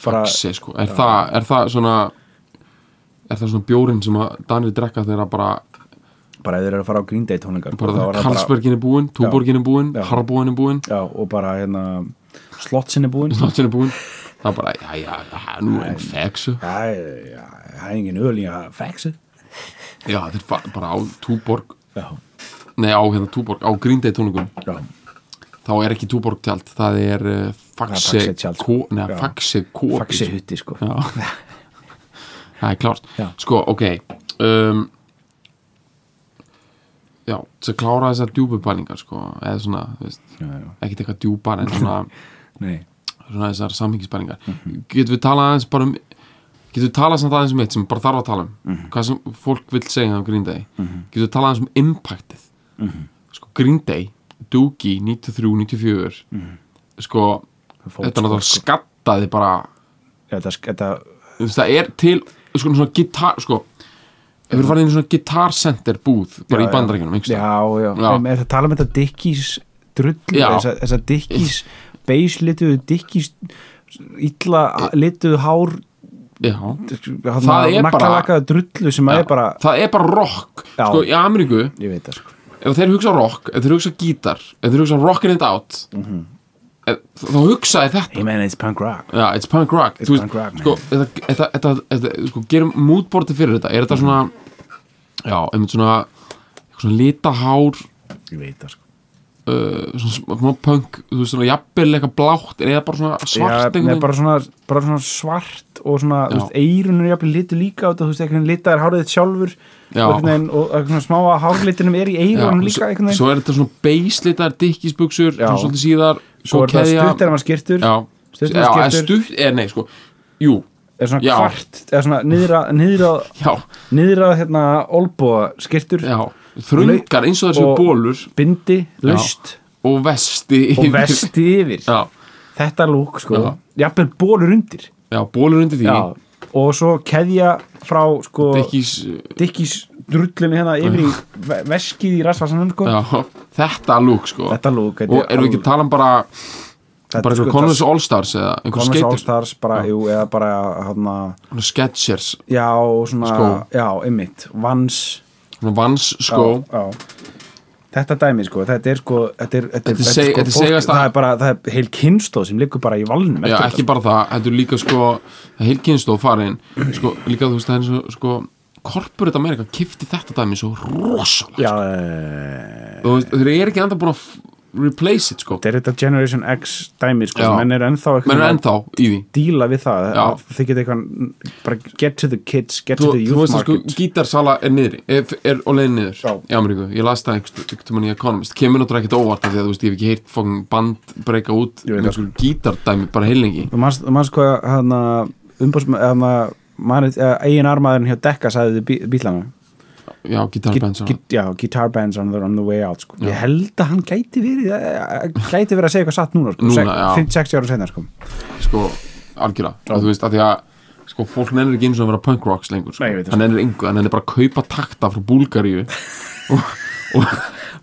Speaker 2: bara-
Speaker 3: Faxi sko, er, það, er það svona er það svona bjórin sem að Danir drekka þegar að bara
Speaker 2: bara ef þeir eru að fara á Green Day tónleikar sko, þá var
Speaker 3: bara
Speaker 2: það
Speaker 3: Karlsbergin er búinn, Túborgin er búinn
Speaker 2: Já.
Speaker 3: Harbúin er
Speaker 2: <laughs>
Speaker 3: búinn,
Speaker 2: já, og bara hérna slottsin er búinn
Speaker 3: Snottin er búinn það er bara, já, já, já, nú er fexu
Speaker 2: Já, já, það er engin öl í að faxi
Speaker 3: já, þetta er bara, bara á Túborg
Speaker 2: Já,
Speaker 3: nei, á hérna Túborg, á Green Day tónungum
Speaker 2: já,
Speaker 3: þá er ekki Túborg tjald, það er uh, Faxe,
Speaker 2: Faxe tjald, sko.
Speaker 3: Ko- nei,
Speaker 2: Já.
Speaker 3: Faxe Kopi
Speaker 2: faxi hutti sko
Speaker 3: já
Speaker 2: <laughs>
Speaker 3: það er klárt,
Speaker 2: Já.
Speaker 3: sko, ok um, já, þess að klára þessar djúbubælingar, sko, eða svona þú veist,
Speaker 2: Já, já,
Speaker 3: ekkert eitthvað djúpar en svona
Speaker 2: nei
Speaker 3: svona þessar samhengisbælingar
Speaker 2: Mhm.
Speaker 3: getum við talað aðeins bara um getum við talað samt aðeins um eitt sem bara þarf að tala um
Speaker 2: Mhm.
Speaker 3: hvað sem fólk vil segja um Green Day getum við talað aðeins um impactið
Speaker 2: Mhm.
Speaker 3: sko Green Day Doogie 93, 94 sko
Speaker 2: Fótspor,
Speaker 3: þetta náttúrulega
Speaker 2: Mhm. sko.
Speaker 3: skattaði bara
Speaker 2: Þetta, þetta,
Speaker 3: þú veist, það er til sko svona gitar sko ef við farið inn í svona gitar center búð bara
Speaker 2: Mhm. já,
Speaker 3: í bandarækjunum
Speaker 2: Já, já, já.
Speaker 3: Já.
Speaker 2: Em, Er það tala um þetta Dickies drull
Speaker 3: Já.
Speaker 2: þessa, þessa Dickies beislituðu Dickies illa lituðu hár
Speaker 3: já
Speaker 2: það
Speaker 3: er bara-
Speaker 2: nakkalakaðu drullu sem að er bara
Speaker 3: það er bara rock
Speaker 2: Já.
Speaker 3: sko í Ameríku
Speaker 2: ég veit það sko
Speaker 3: ef þeir hugsa rock, ef þeir hugsa gítar ef þeir hugsa rockin' it out mm
Speaker 2: Mhm.
Speaker 3: þá hugsa þeir þetta
Speaker 2: Hey man, it's punk rock
Speaker 3: Já, it's punk rock
Speaker 2: It's
Speaker 3: Þú veist,
Speaker 2: punk rock, man.
Speaker 3: sko, þetta, þetta, þetta, þetta, sko, gerum moodboardi fyrir þetta er þetta svona já, einmitt svona, eitthvað svona litahár
Speaker 2: Ég veit það sko
Speaker 3: uh, svona, svona punk, þú veist svona jafnvel eitthvað blátt, er það bara svona
Speaker 2: Já,
Speaker 3: svart
Speaker 2: nei, bara, svona, bara svona svart og svona, þú
Speaker 3: Já.
Speaker 2: veist, eirunur jafnvel litu líka á þetta, þú veist, einhvern veginn litaðir hárið þitt sjálfur
Speaker 3: Já.
Speaker 2: einhvern veginn, og einhvern veginn smá að hárlitinum er í eirunum líka einhvern
Speaker 3: svo,
Speaker 2: veginn
Speaker 3: svo er þetta svona beislitar dikkisbuxur,
Speaker 2: Já.
Speaker 3: svona svolítið síðar
Speaker 2: svo
Speaker 3: svo
Speaker 2: er það
Speaker 3: keðja-
Speaker 2: stutt er maður skirtur
Speaker 3: já,
Speaker 2: Stutt
Speaker 3: já,
Speaker 2: er
Speaker 3: eða
Speaker 2: skirtur.
Speaker 3: stutt, eða nei, sko jú,
Speaker 2: er svona
Speaker 3: Já.
Speaker 2: kvart, eða svona niðra niðra,
Speaker 3: já,
Speaker 2: niðra hérna olbúa skirtur,
Speaker 3: Já, þröngar eins og þessu
Speaker 2: og-
Speaker 3: bólur
Speaker 2: bindi, laust
Speaker 3: og vesti
Speaker 2: og
Speaker 3: <laughs> yfir.
Speaker 2: vesti yfir
Speaker 3: Já,
Speaker 2: þetta lúk sko,
Speaker 3: Já.
Speaker 2: jafnvel bólur undir
Speaker 3: já bólur undir því
Speaker 2: Já. og svo keðja frá sko,
Speaker 3: Dickies,
Speaker 2: dikkis drullinu hérna yfir í ve- veskið í rasvarsanum sko
Speaker 3: já, Þetta lúk sko
Speaker 2: Þetta lúk
Speaker 3: Og erum við ekki að tala um bara
Speaker 2: Þetta er
Speaker 3: bara
Speaker 2: sko-
Speaker 3: eitthvað Converse All Stars eða einhver
Speaker 2: Converse All
Speaker 3: skater,
Speaker 2: Stars bara,
Speaker 3: Já.
Speaker 2: jú, eða bara hana,
Speaker 3: svona Skechers
Speaker 2: já, svona
Speaker 3: Skó.
Speaker 2: já, einmitt, vans
Speaker 3: svona Vans sko
Speaker 2: já, já. þetta dæmi sko, þetta er sko þetta er, þetta
Speaker 3: Þetta er seg- þetta er segast að-
Speaker 2: það er bara, það er heil kynstóð sem liggur bara í valnum
Speaker 3: Já,
Speaker 2: eftir
Speaker 3: ekki
Speaker 2: þetta.
Speaker 3: bara það, þetta er líka sko það heilkynnslóð farin sko, líka þú veist, það er svo, sko Corporate America kifti þetta dæmi svo rosalega
Speaker 2: já, eh,
Speaker 3: Þú veist, þeir eru ekki enda búin að f- replace it sko,
Speaker 2: þetta er þetta Generation X dæmi sko,
Speaker 3: Já.
Speaker 2: sem menn er ennþá
Speaker 3: menn
Speaker 2: einhvern
Speaker 3: er
Speaker 2: veginn
Speaker 3: ennþá í því
Speaker 2: að díla við það,
Speaker 3: Já.
Speaker 2: að þið geta eitthvað bara get to the kids, get
Speaker 3: Þú,
Speaker 2: to the
Speaker 3: þú
Speaker 2: youth
Speaker 3: veist að sko,
Speaker 2: market
Speaker 3: gítarsala er niðri er, er á leiðin niður
Speaker 2: Já.
Speaker 3: í Ameríku, ég las það einhvern tímann í Economist kemur náttúrulega ekkert óvart af því að þú veist, ég hef ekki heyrt fókin band breyka út
Speaker 2: Ég veit það,
Speaker 3: einhver gítardæmi, bara heilengi
Speaker 2: Þú manst, þú manst hvað hann umbúrsmaður eigin armaðurinn hjá Dekka sagði bí, bílana
Speaker 3: já, gítarband
Speaker 2: Git- git- já, guitar bands on the, on the way out sko. ég held að hann gæti verið eh, gæti verið að segja eitthvað satt núna, sko.
Speaker 3: Núna,
Speaker 2: Se-
Speaker 3: já.
Speaker 2: 50-60 ára senna sko.
Speaker 3: sko, algjörlega og þú veist, að því að sko, fólk nennir ekki eins og að vera punk rocks lengur sko.
Speaker 2: Nei, ég veit það,
Speaker 3: hann nennir yngu, hann nennir bara að kaupa takta frá
Speaker 2: <laughs>
Speaker 3: Búlgaríu og, og,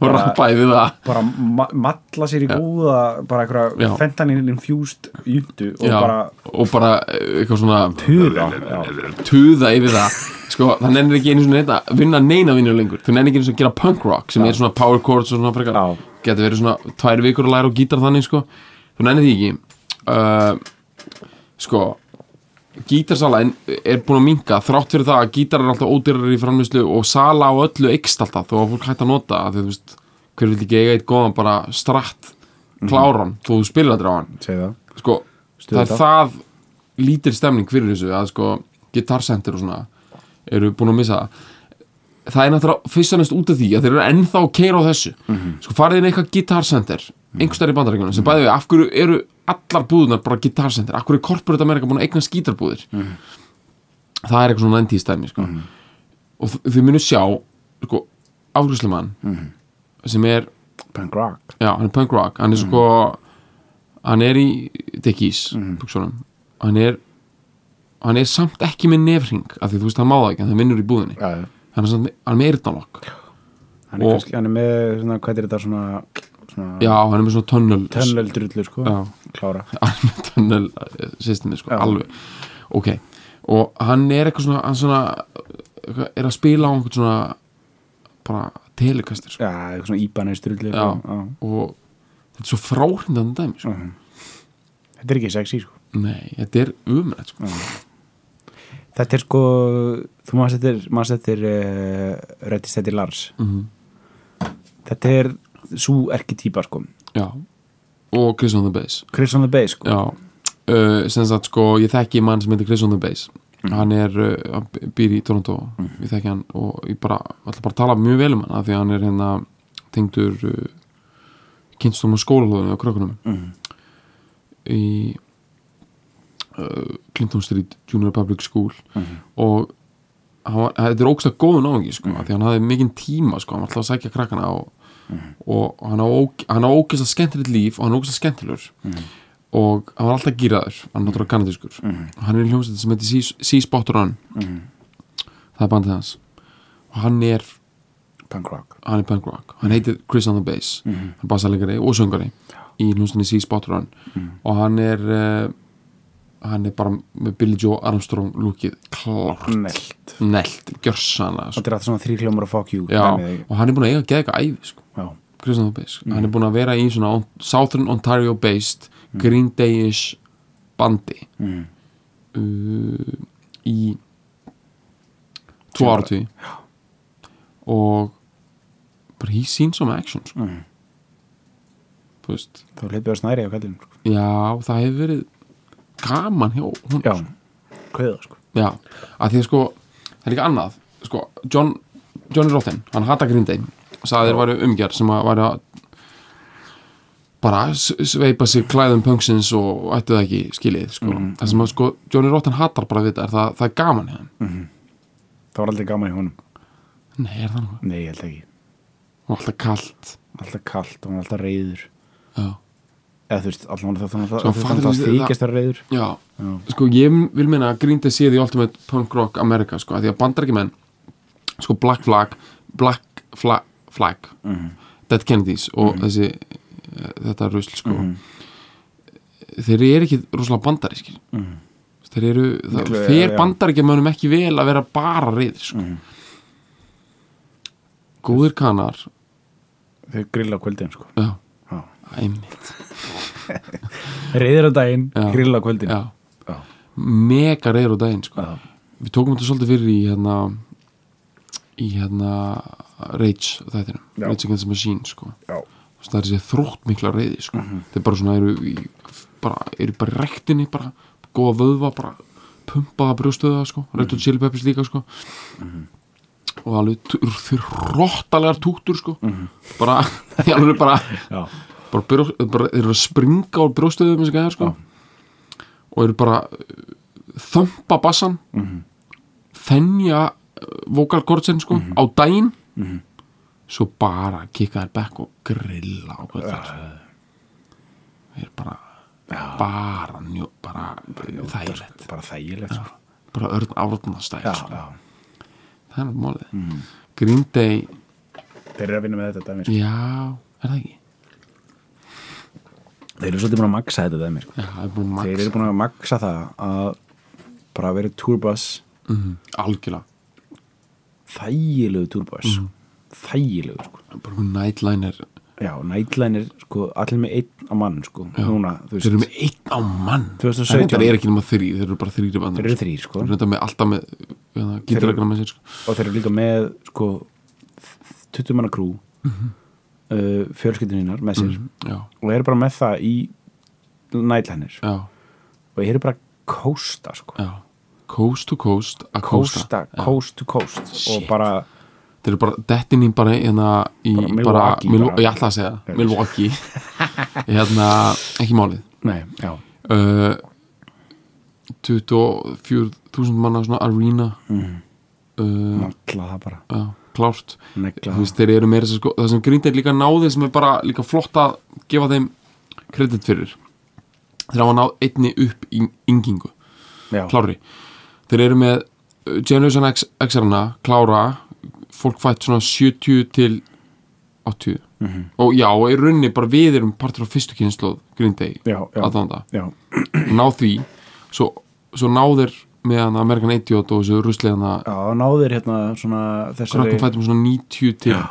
Speaker 3: og rappa yfir það
Speaker 2: bara ma matla sér í góða bara
Speaker 3: Já.
Speaker 2: einhverja fentanyl infused júntu og
Speaker 3: já,
Speaker 2: bara
Speaker 3: og bara eh, eitthvað svona
Speaker 2: tuða já.
Speaker 3: tuða yfir það sko, það nennir ekki einu svona að vinna neina vinnu lengur þú nennir ekki einu svona að gera punk rock sem er svona power chords og svona frekar
Speaker 2: Já.
Speaker 3: getur verið svona tvær vikur að læra á gítar þannig sko þú nennir því ekki uh, sko gítarsala en- er búin að minka þrátt fyrir það að gítar er alltaf ódýrar í framlýslu og sala á öllu eikst alltaf þó að fólk hægt að nota að því, þú veist, hver vil ekki eiga eitt góðan bara stratt kláran þó þú spilir aldrei á hann
Speaker 2: segi það
Speaker 3: sko,
Speaker 2: Stuð
Speaker 3: það er það lítil stemning fyrir þessu að sko gitarsendur og svona eru búin að missa það það er náttúrulega fyrst og næst út af því að þeir eru ennþá að keira á þessu sko farið inn í eitthvað gitarsendur einhverstaðar í bandaríkjunum sem bæði við af hverju eru allar búðunar bara gitarsendur af hverju er corporate America búin að eigna skítarbúðir það er eitthvað svona 90s dæmi sko. og þ- þið munu sjá sko, afgjörslumann sem er
Speaker 2: punk rock
Speaker 3: Já, hann er punk rock Hann er sko Hann er í Dickies buxunum. Hann er Hann er samt ekki með nefring af því þú veist hann má það ekki, hann vinnur í búðinni
Speaker 2: já, já.
Speaker 3: hann er, samt, með- hann er með eyrnalokk
Speaker 2: hann er,
Speaker 3: Og-
Speaker 2: kannski, hann er með svona, hvað er þetta svona, svona
Speaker 3: Já, hann er með svona tunnel
Speaker 2: tönnlöld drullu sko
Speaker 3: Já, <laughs>
Speaker 2: klára
Speaker 3: hann er með tunnel systemi sko,
Speaker 2: Já.
Speaker 3: alveg Ok, og hann er eitthvað svona hann svona eitthvað- er að spila á einhvern svona bara telekastir sko.
Speaker 2: já, eitthvað svona íbanais drullu
Speaker 3: Já.
Speaker 2: sko. já.
Speaker 3: og þetta er svo fráhrindandi dæmi sko.
Speaker 2: Mhm. þetta er ekki sexy sko
Speaker 3: Nei, þetta er umrætt sko.
Speaker 2: Þetta er sko, þú maður settir, maður settir uh, Reddist þetta Lars.
Speaker 3: Mhm.
Speaker 2: Þetta er svo erki típa sko.
Speaker 3: Já Og Chris on the Bass
Speaker 2: Chris on the Bay sko.
Speaker 3: Já uh, Sem sagt sko Ég þekki mann sem heitir Chris on the Bass Hann er uh, Hann býr í Toronto Ég þekki hann Og ég bara ætla bara að tala mjög vel um hann af Því að hann er hérna Tengdur uh, Kynstum á skólalóðinu Og krökkunum Í uh, Clinton Street Junior Public School Og hann var, Þetta er ógst að góðu náðingi sko mm Því hann hafði mikinn tíma sko Hann var alltaf að sækja krakkana og og hann á, óg- hann á ógæslega skemmtilegt líf og hann á ógæslega skemmtilegur og hann var alltaf gýraður hann er náttúrulega kanadískur
Speaker 2: Mhm,
Speaker 3: og hann er í hljómsveit sem heitir Sea- Sea Spot Run það er bandið hans og hann er,
Speaker 2: Punk rock.
Speaker 3: hann er punk rock hann heitir Chris on the Bass
Speaker 2: Mhm.
Speaker 3: hann er bassalegari og söngari í hljómsveitinni Sea Spot Run og hann er uh, hann er bara með Billy Joe Armstrong lúkið klárt,
Speaker 2: Nelt.
Speaker 3: nelt, gjörsana sko.
Speaker 2: Þetta er alltaf svona þrýkljómar og fuck you.
Speaker 3: Já,
Speaker 2: dæmið,
Speaker 3: og hann er búin að eiga að geða eitthvað æfi sko
Speaker 2: Já.
Speaker 3: Christian the Bass hann er búinn að vera í svona on- Southern Ontario based Green Day-ish bandi
Speaker 2: Mm.
Speaker 3: uh, í tvo áratví og bara he seen some action sko.
Speaker 2: Mm.
Speaker 3: þú veist
Speaker 2: Þá hlipið að snæri á kallinu sko.
Speaker 3: já, það hefur verið gaman hjá hún
Speaker 2: Já. Kveða sko.
Speaker 3: já, að því að sko það er líka annað, sko John, Johnny Rotten, hann hata Green Day sagði þeir væru umgjör sem að væru að bara s- sveipa sig klæðum punksins og ættu það ekki skilið sko. það sem að sko Johnny Rotten hatar bara við þetta er það, það er gaman hérna mm.
Speaker 2: Það var aldrei gaman í honum.
Speaker 3: nei, er það nú,
Speaker 2: Nei, ég held ekki.
Speaker 3: og alltaf kalt
Speaker 2: Alltaf kallt og hann var alltaf reyður.
Speaker 3: já,
Speaker 2: Eða þú veist, allan það þannig að
Speaker 3: Svo
Speaker 2: það
Speaker 3: fattar
Speaker 2: þannig að
Speaker 3: þú-
Speaker 2: þykjast að vera reyður.
Speaker 3: já.
Speaker 2: Já.
Speaker 3: sko ég vil meina að Green Day sé því Ultimate Punk Rock America sko, að því að bandarækjumenn sko Black Flag Black Fla
Speaker 2: Mhm. Mhm.
Speaker 3: Flag Dead Kennedys og þessi eh, þetta rusl sko þeir eru ekki rosalega bandarískir
Speaker 2: Mhm.
Speaker 3: þeir eru, það
Speaker 2: Miklu-
Speaker 3: fer
Speaker 2: já.
Speaker 3: bandaríkjamönum ekki vel að vera bara reyðir sko.
Speaker 2: Mhm.
Speaker 3: góðir kanar
Speaker 2: Þau grilla á kvöldin sko
Speaker 3: já,
Speaker 2: Já.
Speaker 3: einmitt
Speaker 2: Reyðir á daginn,
Speaker 3: Já.
Speaker 2: grilla á kvöldin
Speaker 3: já.
Speaker 2: Já.
Speaker 3: mega reyður á daginn sko.
Speaker 2: Já.
Speaker 3: við tókum þetta svolítið fyrir í hérna í hérna Rage þættinum,
Speaker 2: Já.
Speaker 3: Rage Against the Machine sko.
Speaker 2: Já.
Speaker 3: Þú veist, það er þessi þrótt mikla reyði sko. þeir bara svona eru í, bara, eru bara í rektinni bara, góða vöðva bara pumpaða brjóstöða sko, Red Hot Chili Peppers líka sko. og alveg t- þeir rottalegar túttur sko. bara, <laughs> ég alveg bara
Speaker 2: Já.
Speaker 3: bara, brjó, bara þeir eru að springa úr brjóstöðum þessi gæðar sko og eru bara uh, þömpa bassan mm
Speaker 2: Mhm.
Speaker 3: -hmm. þennja vokalkortsin sko
Speaker 2: Mhm.
Speaker 3: á daginn svo bara kikka þér bekk og grilla og hvað það er þeir bara bara njó, bara, bara þægilegt
Speaker 2: Bara þægilegt sko
Speaker 3: bara örn árnastæð
Speaker 2: Já,
Speaker 3: sko.
Speaker 2: já.
Speaker 3: það er málið
Speaker 2: Mhm.
Speaker 3: mm. Green Day,
Speaker 2: Þeir eru að vinna með þetta dæmi sko.
Speaker 3: já, er það ekki
Speaker 2: Þeir eru svolítið búin að maksa þetta dæmi sko.
Speaker 3: já, það er búin að
Speaker 2: Þeir eru
Speaker 3: max
Speaker 2: búin að maksa það að bara verið túrbus
Speaker 3: Mhm, algjörlega
Speaker 2: þægilegu túrbus
Speaker 3: Mhm.
Speaker 2: mm. þægilegu sko
Speaker 3: bara hún nightliner
Speaker 2: Já, nætlæn er sko allir með einn á mann sko Núna, þú
Speaker 3: þeir eru
Speaker 2: veist
Speaker 3: með einn á mann
Speaker 2: 2017.
Speaker 3: það reyndar er ekki nema þrý, þeir eru bara þrýri bandar
Speaker 2: Þeir eru þrír, sko.
Speaker 3: þeir eru reyndar með alltaf með gítalegana með sér sko.
Speaker 2: Og þeir eru líka með sko 20 manna krú mm
Speaker 3: Mhm.
Speaker 2: -hmm. uh, fjölskylduninnar með sér
Speaker 3: já,
Speaker 2: og eru bara með það í nætlænir
Speaker 3: já,
Speaker 2: og eru bara að kósta sko
Speaker 3: já coast to coast að
Speaker 2: kósta,
Speaker 3: coasta Já.
Speaker 2: coast to coast og
Speaker 3: Shit.
Speaker 2: bara,
Speaker 3: þeir eru bara dettin í bara, hérna, í,
Speaker 2: Bara
Speaker 3: bara,
Speaker 2: Milwaukee,
Speaker 3: Mil-
Speaker 2: bara.
Speaker 3: ég ætla að segja það,
Speaker 2: <laughs>
Speaker 3: Milwaukee hérna, ekki málið
Speaker 2: nei, já
Speaker 3: uh, 24.000 manna svona arena
Speaker 2: Mhm.
Speaker 3: uh,
Speaker 2: alla það bara,
Speaker 3: já, klárt
Speaker 2: negla
Speaker 3: þú veist, þeir eru meira þess að sko, það sem Green Day líka náði sem er bara líka flott að gefa þeim kredit fyrir þeir hafa náð einni upp í yngingu,
Speaker 2: já,
Speaker 3: klári þeir eru með uh, Generation X, X-arna, klára fólk fætt svona 70 til 80
Speaker 2: Mhm.
Speaker 3: og já, og í rauninni bara við erum partur á fyrstu kynnslóð Green Day
Speaker 2: já, já,
Speaker 3: aðdánda,
Speaker 2: já,
Speaker 3: ná því svo, svo náðir með hana American Idiot og þessu rusli hana
Speaker 2: já, náðir hérna svona þessari,
Speaker 3: krakkum fættum svona 90 til já,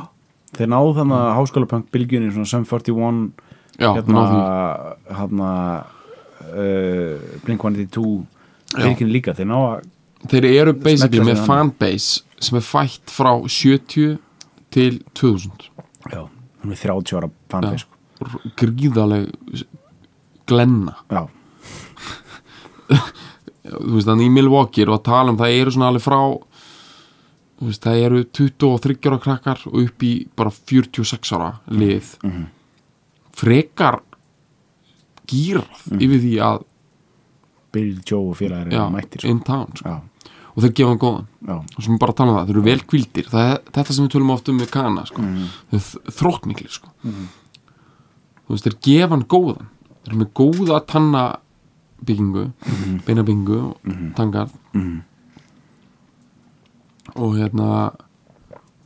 Speaker 2: þeir náðu þannig að háskólapöng bylgjunni svona Sum 41
Speaker 3: já
Speaker 2: hérna,
Speaker 3: ná því
Speaker 2: hérna uh, Blink-182
Speaker 3: Já.
Speaker 2: bylgjunni líka, þeir náðu að
Speaker 3: þeir eru basically
Speaker 2: Smella
Speaker 3: með
Speaker 2: sig hann.
Speaker 3: fanbase sem er fætt frá 70 til 2000
Speaker 2: já, hún er 30 ára
Speaker 3: Já.
Speaker 2: fanbase sko.
Speaker 3: R- gríðaleg s- glenna
Speaker 2: já,
Speaker 3: þú veist þannig í Milwaukee og að tala um það eru svona alveg frá þú veist, það eru 23 ára krakkar og upp í bara 46 ára lið
Speaker 2: Mhm.
Speaker 3: frekar gýrað yfir því að
Speaker 2: Bill, Joe og félagir
Speaker 3: já,
Speaker 2: Mhm. eru mættir sko.
Speaker 3: in town sko.
Speaker 2: já,
Speaker 3: og þeir gefa hann góðan
Speaker 2: já,
Speaker 3: og sem bara að tala um það, þeir eru vel kvildir það er þetta sem við tölum oft um við kana sko. þeir eru þróttmiklir sko. þú veist, þeir gefa hann góðan þeir eru með góða tannabyggingu beinabyggingu og tangarð og hérna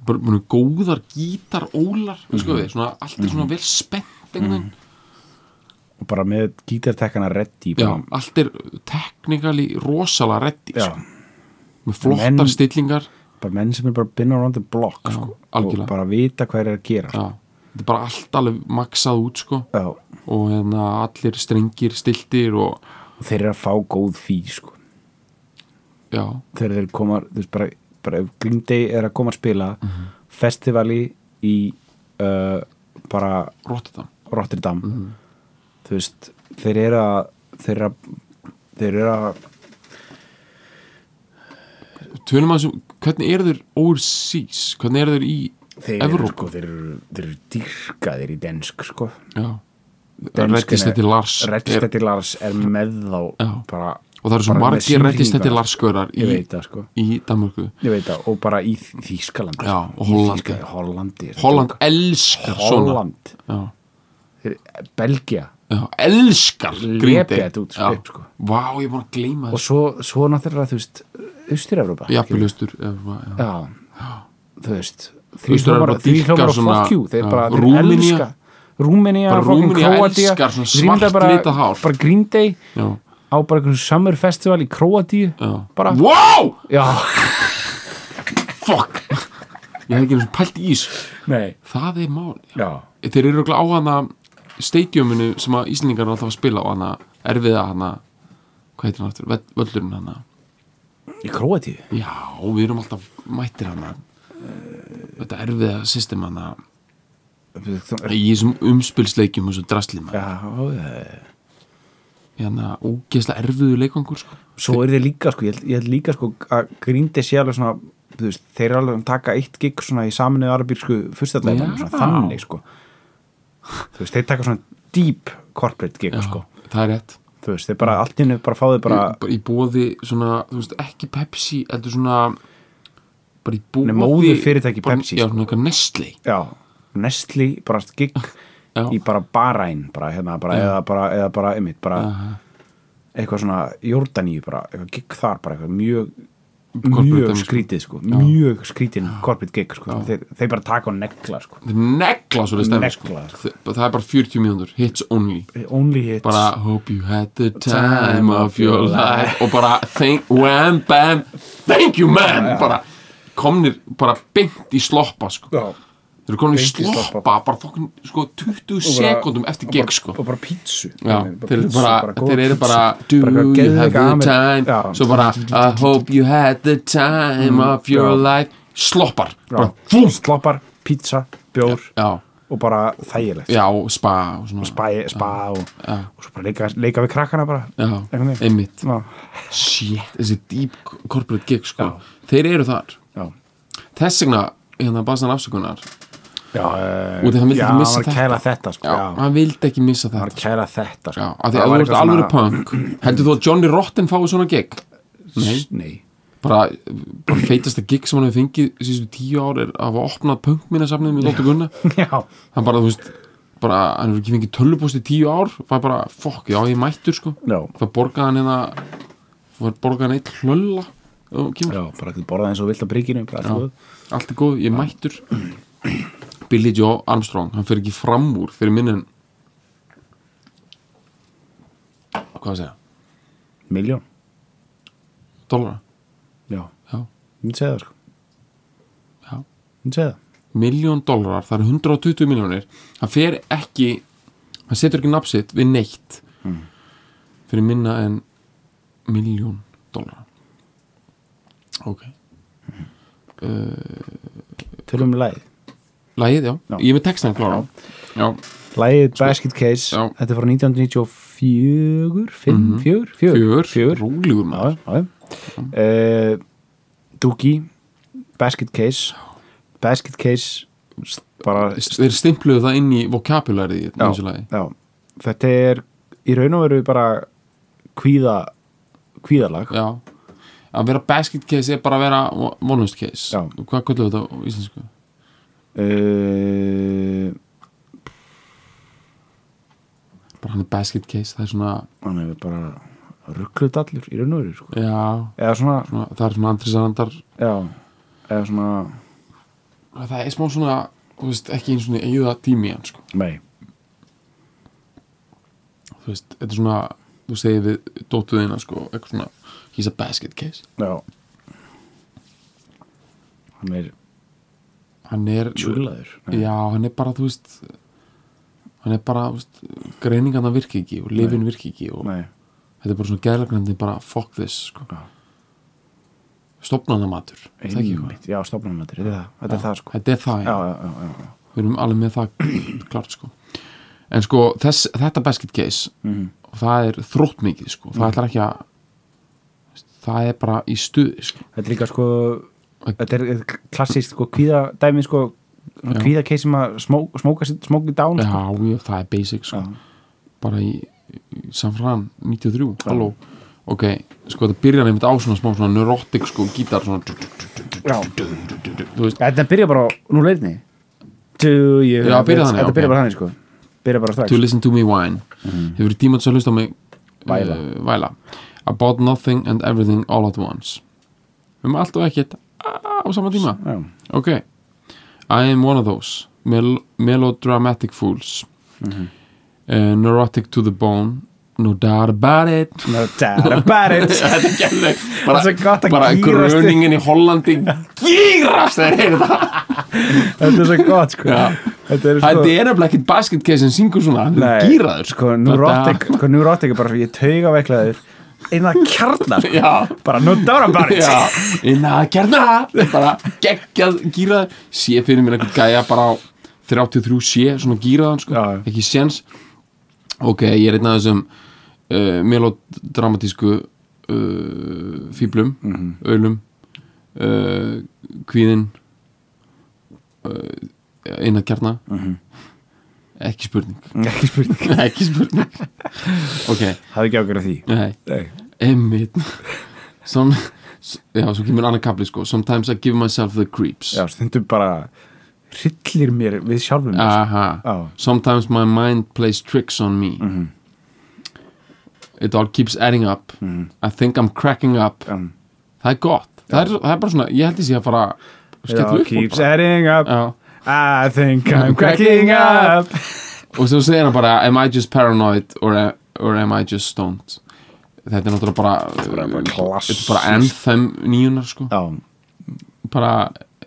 Speaker 3: bara munu góðar gítar ólar mm sko, þeir, svona, allt er svona vel spennt mm -hmm.
Speaker 2: og bara með gítartekkana ready
Speaker 3: já,
Speaker 2: bara,
Speaker 3: allt er teknikali rosalega reddi
Speaker 2: já.
Speaker 3: sko, með flottar
Speaker 2: Menn-
Speaker 3: stillingar
Speaker 2: bara menn sem er bara been around the block
Speaker 3: Já,
Speaker 2: sko,
Speaker 3: algjörlega.
Speaker 2: og bara vita hvað er að gera sko.
Speaker 3: já, þetta er bara allt alveg maxað út sko
Speaker 2: já.
Speaker 3: og hérna allir strengir stiltir og
Speaker 2: og þeir eru að fá góð fí sko.
Speaker 3: já,
Speaker 2: þegar þeir koma þú veist, bara, bara ef Green Day er að koma að spila
Speaker 3: Mhm.
Speaker 2: festivali í uh, bara
Speaker 3: rótti það
Speaker 2: Rotterdam
Speaker 3: Mhm.
Speaker 2: þú veist, þeir eru að þeir eru að þeir eru að
Speaker 3: tölum að þessum, hvernig eru þeir overseas, hvernig eru þeir í
Speaker 2: þeir eru,
Speaker 3: Evrópu?
Speaker 2: sko, þeir eru, þeir eru dýrkaðir í densk sko.
Speaker 3: já,
Speaker 2: Dönskin
Speaker 3: reddistætti
Speaker 2: er-
Speaker 3: Lars er,
Speaker 2: Reddistætti Lars er með þá
Speaker 3: Já.
Speaker 2: bara,
Speaker 3: og það eru svo
Speaker 2: bara með
Speaker 3: margir
Speaker 2: sýningar.
Speaker 3: reddistætti Lars-görar
Speaker 2: ég
Speaker 3: í,
Speaker 2: veit það sko
Speaker 3: í Danmörku
Speaker 2: Ég veit það, og bara í Þýskalandi sko.
Speaker 3: Já, og Hollandi.
Speaker 2: Hollandi,
Speaker 3: Holland elskar svona
Speaker 2: Holland
Speaker 3: já,
Speaker 2: Belgia
Speaker 3: já, elskar Green Day.
Speaker 2: Lepja þetta út,
Speaker 3: Já.
Speaker 2: upp, sko.
Speaker 3: vá, ég er búin að gleyma
Speaker 2: og
Speaker 3: þessu
Speaker 2: svo, svo náttúrulega, þú veist Austur-Evrópa skilur.
Speaker 3: jafnvelustur já,
Speaker 2: Já, þú veist
Speaker 3: Austur-Evrópa
Speaker 2: Þrýhlómar
Speaker 3: dýrkar
Speaker 2: og
Speaker 3: svona,
Speaker 2: fokkjú, þeir
Speaker 3: já,
Speaker 2: bara þeir
Speaker 3: Rúmenía.
Speaker 2: elska Rúmenía,
Speaker 3: Bara
Speaker 2: fucking
Speaker 3: Rúmenía
Speaker 2: Króatía
Speaker 3: elskar svona
Speaker 2: Ég ímynda
Speaker 3: svart
Speaker 2: bara-
Speaker 3: litað hár.
Speaker 2: bara Green Day
Speaker 3: já,
Speaker 2: á bara einhverjum summer festival í Króatíu
Speaker 3: já
Speaker 2: Bara-
Speaker 3: Wow,
Speaker 2: já, <laughs>
Speaker 3: fuck <laughs> Ég hef ekki eins og pælt í ís
Speaker 2: nei
Speaker 3: Það er mál
Speaker 2: já,
Speaker 3: Þeir eru örugglega á hana stadiuminu sem að Íslendingar er alltaf að spila á hana erfiða hana hvað heitir hann aftur, Völl- völlurinn hana
Speaker 2: í Króatíu
Speaker 3: Já, við erum alltaf mættir hana Þetta erfiða system hana
Speaker 2: já,
Speaker 3: í þessum umspilsleikjum og þessum drastlima ja.
Speaker 2: já.
Speaker 3: Hérna, ógeðslega erfiðu leikangur sko.
Speaker 2: svo er þeir líka sko, ég held, ég held líka sko að Green Day sé alveg svona þú veist, þeir eru alveg að taka eitt gig svona í saminuð arabírsku fyrstadæðan,
Speaker 3: Já.
Speaker 2: svona þannig sko þú veist, þeir taka svona deep corporate gig
Speaker 3: Já, Mm.
Speaker 2: sko
Speaker 3: Það er rétt
Speaker 2: þú veist, þeir bara allt innu bara fáið bara
Speaker 3: bara í bóði svona, þú veist, ekki Pepsi heldur svona bara í bóði
Speaker 2: Nei, móður fyrirtæki
Speaker 3: bara,
Speaker 2: Pepsi,
Speaker 3: Já,
Speaker 2: sko.
Speaker 3: svona eitthvað Nestle
Speaker 2: já, Nestle, bara gig
Speaker 3: Ah, Já.
Speaker 2: í bara baræn bara, hérna, bara,
Speaker 3: Já.
Speaker 2: eða bara, eða bara, einmitt, bara
Speaker 3: Aha.
Speaker 2: eitthvað svona Jórdaníu bara, eitthvað gig þar bara eitthvað mjög
Speaker 3: Corporate
Speaker 2: mjög
Speaker 3: dæmi, sko.
Speaker 2: skrítið sko, mjög skrítin corporate gig sko,
Speaker 3: Já.
Speaker 2: þeir, þeir bara taka og negla sko,
Speaker 3: Þeir negla svo stefni sko.
Speaker 2: Negla, sko.
Speaker 3: Þe- það er bara 40 mínútur, hits only
Speaker 2: only hits
Speaker 3: bara hope you had the time of your life og bara thank, wham, bam thank you man bara komnir bara beint í sloppa sko.
Speaker 2: Já.
Speaker 3: þeir eru komin í
Speaker 2: Beint í
Speaker 3: sloppa,
Speaker 2: sloppa.
Speaker 3: bara fokkin, sko, 20
Speaker 2: Og bara-
Speaker 3: sekundum eftir
Speaker 2: og
Speaker 3: gig
Speaker 2: bara-
Speaker 3: sko.
Speaker 2: og bara pítsu
Speaker 3: Já, þeir eru
Speaker 2: pítsu,
Speaker 3: bara,
Speaker 2: góða
Speaker 3: þeir eru
Speaker 2: pítsu.
Speaker 3: bara Do
Speaker 2: Bara eitthvað
Speaker 3: you have
Speaker 2: geðveika
Speaker 3: the
Speaker 2: Amerík-
Speaker 3: time
Speaker 2: Já. Mm,
Speaker 3: Svo bara I hope you had the time of your
Speaker 2: já.
Speaker 3: life Sloppar
Speaker 2: Já.
Speaker 3: Bara fúm
Speaker 2: sloppar, pítsa, bjór
Speaker 3: Já,
Speaker 2: og bara þægilegt
Speaker 3: já, og spa og svona
Speaker 2: spa, spa og,
Speaker 3: Já.
Speaker 2: og svo bara leika, leika við krakkana bara
Speaker 3: Já,
Speaker 2: Einhvern veginn.
Speaker 3: einmitt
Speaker 2: já,
Speaker 3: Shit, þessi deep corporate gig sko
Speaker 2: Já.
Speaker 3: Þeir eru þar
Speaker 2: já,
Speaker 3: Þess vegna, hérna, basan afsökunar
Speaker 2: já eh,
Speaker 3: Og því hann vildi
Speaker 2: já,
Speaker 3: ekki missa
Speaker 2: var að
Speaker 3: þetta.
Speaker 2: kæla þetta sko,
Speaker 3: Já,
Speaker 2: já, hann
Speaker 3: hann vildi ekki missa
Speaker 2: var að
Speaker 3: þetta
Speaker 2: kæla þetta sko.
Speaker 3: Já, af því að þú ert alveg <clears throat> punk Heldur þú að Johnny Rotten fái svona gig? Nei
Speaker 2: nei, <laughs>
Speaker 3: bara, bara feitasta gig sem hann hefur fengið síðustu tíu ár er að hafa opnað punkminasafnið með Dóttur Gunna
Speaker 2: já,
Speaker 3: hann bara, þú veist, bara, hann hefur ekki fengið tölvupóst í tíu ár, var bara, fokk, já, ég er mættur, sko,
Speaker 2: já
Speaker 3: það borgaði hann hérna var borgaði hann eitt hlölla og kemur,
Speaker 2: Já, bara ekki borða eins og vilt á brygginu bara, allt í góðu.
Speaker 3: allt er góð, ég er mættur Billy Joe Armstrong hann fer ekki fram úr fyrir minn en hvað að segja,
Speaker 2: Miljón,
Speaker 3: dollara
Speaker 2: já,
Speaker 3: já,
Speaker 2: hún segja það sko
Speaker 3: já
Speaker 2: Hún segja það,
Speaker 3: miljón dólarar, það eru 120 miljónir hann fer ekki hann setur ekki napsitt við neitt fyrir minna en miljón dólarar ok
Speaker 2: tölum um við lægið
Speaker 3: lægið, já,
Speaker 2: Já.
Speaker 3: ég er með textan klára já,
Speaker 2: Lægið Basket Case,
Speaker 3: já. Mhm.
Speaker 2: þetta er frá 1994, 5, 4, 4,
Speaker 3: fjör,
Speaker 2: 4,
Speaker 3: rólegur maður
Speaker 2: já, já. Uh, Doogie, Basket Case, Basket Case, s- bara,
Speaker 3: þeir stimpluðu það inn í vokabularið í
Speaker 2: Já.
Speaker 3: þessu lægi
Speaker 2: já, þetta er í raun og veru bara kvíða, kvíðalag,
Speaker 3: já, að vera basket case er bara að vera vonlust case
Speaker 2: Já.
Speaker 3: hvað kvöldu þetta á íslensku?
Speaker 2: uh,
Speaker 3: bara hann er basket case, það er svona
Speaker 2: hann hefur bara rugglut allur í raun og veru, sko.
Speaker 3: já,
Speaker 2: Eða svona,
Speaker 3: svona, það er svona andri sarandar
Speaker 2: já, eða svona,
Speaker 3: að það er smá svona þú veist, ekki eins og eigða tími í hann sko.
Speaker 2: nei,
Speaker 3: þú veist, þetta er svona þú segir við dóttuðina sko, eitthvað svona, he's a basket case
Speaker 2: já, hann er
Speaker 3: hann er,
Speaker 2: tjúlaður, nei.
Speaker 3: já, hann er bara þú veist hann er bara, þú veist greiningarna virki ekki og lifin virki ekki og
Speaker 2: Nei,
Speaker 3: þetta er bara svona gælagrandi bara fuck this sko.
Speaker 2: Já.
Speaker 3: stopnanamatur er það ekki eitthvað?
Speaker 2: einmitt, já, stofnarmættir, þetta er það, þetta er það sko
Speaker 3: þetta er það,
Speaker 2: Já, já, já, já, já.
Speaker 3: við erum alveg með það klart sko en sko þess, þetta basket case
Speaker 2: Mhm.
Speaker 3: og það er þrótt mikið sko það ætlar ekki að það er bara í stuði sko
Speaker 2: Þetta er líka sko, þetta er klassist sko kvíða, dæmi sko
Speaker 3: Já.
Speaker 2: kvíða keið sem að smóka, smóka, smóka down
Speaker 3: já,
Speaker 2: sko.
Speaker 3: já, það er basic sko bara í, í San Fran 93, halló ok, sko þetta byrjar einmitt á svona smá svona neurotic sko gítar svona
Speaker 2: Já.
Speaker 3: þú veist,
Speaker 2: Þetta byrja bara á nú leirni Do you
Speaker 3: Já, byrja þannig,
Speaker 2: Þetta
Speaker 3: ok.
Speaker 2: byrja bara þannig sko Byrja bara strax
Speaker 3: to listen to me whine hefur verið tíma til að hlusta á mig
Speaker 2: Mm-hmm. Væla.
Speaker 3: uh, væla about nothing and everything all at once um allt og ekkert á sama tíma
Speaker 2: Já,
Speaker 3: ok I am one of those mel melodramatic fools
Speaker 2: Mm-hmm.
Speaker 3: uh, Neurotic to the Bone No Doubt About It
Speaker 2: No doubt about it
Speaker 3: <laughs> Þetta er gæðvegt <laughs> bara,
Speaker 2: Það er svo gott að
Speaker 3: bara einhver
Speaker 2: gírast upp.
Speaker 3: röningin í Hollandi gýrast þegar þeir heyrðu það
Speaker 2: Þetta er svo gott sko
Speaker 3: Já.
Speaker 2: Þetta er
Speaker 3: Þetta
Speaker 2: sko
Speaker 3: er nefnilega ekkert basketkæð sem syngur svona hann
Speaker 2: Nei,
Speaker 3: er gýraður
Speaker 2: Sko, neurotic, sko, neurotic er bara svo ég tauga veiklaður Einna kjarnar sko.
Speaker 3: <laughs> Já.
Speaker 2: Bara no doubt about it
Speaker 3: Já, inn að gerna bara geggjað gýraður sé fyrir mér einhvern gæja bara á 33 sé svona gýraðan sko.
Speaker 2: Já, já.
Speaker 3: ekki séns ok, ég er einn af þessum uh, melodramatísku uh, fýblum
Speaker 2: Mhm.
Speaker 3: ölum uh, kvíðin uh, inn að gerna ekki spurning
Speaker 2: Mhm. Ekki spurning
Speaker 3: <laughs> ekki spurning ok,
Speaker 2: Hafði ekki ákveður því
Speaker 3: nei
Speaker 2: Nei.
Speaker 3: Emmitt Som, s- Já, svo kemur annar kapli sko Sometimes I give myself the creeps
Speaker 2: Já, stundum bara hryllir mér við sjálfum mér,
Speaker 3: Aha
Speaker 2: Já. Mhm.
Speaker 3: Sometimes my mind plays tricks on me It all keeps adding up
Speaker 2: Mhm.
Speaker 3: I think I'm cracking up
Speaker 2: sko. Um,
Speaker 3: Það er gott það er, það er bara svona, ég held ég sé að fara að
Speaker 2: it
Speaker 3: Skellu
Speaker 2: all
Speaker 3: upp úr
Speaker 2: keeps
Speaker 3: bara.
Speaker 2: adding up
Speaker 3: Já.
Speaker 2: I
Speaker 3: <laughs>
Speaker 2: think I'm cracking up
Speaker 3: Og svo segir hann bara Am I just paranoid or, a- or am I just stoned Þetta er náttúrulega bara uh,
Speaker 2: bara- bara
Speaker 3: Þetta
Speaker 2: klassískt.
Speaker 3: er bara anthem nýjunar sko
Speaker 2: Já,
Speaker 3: bara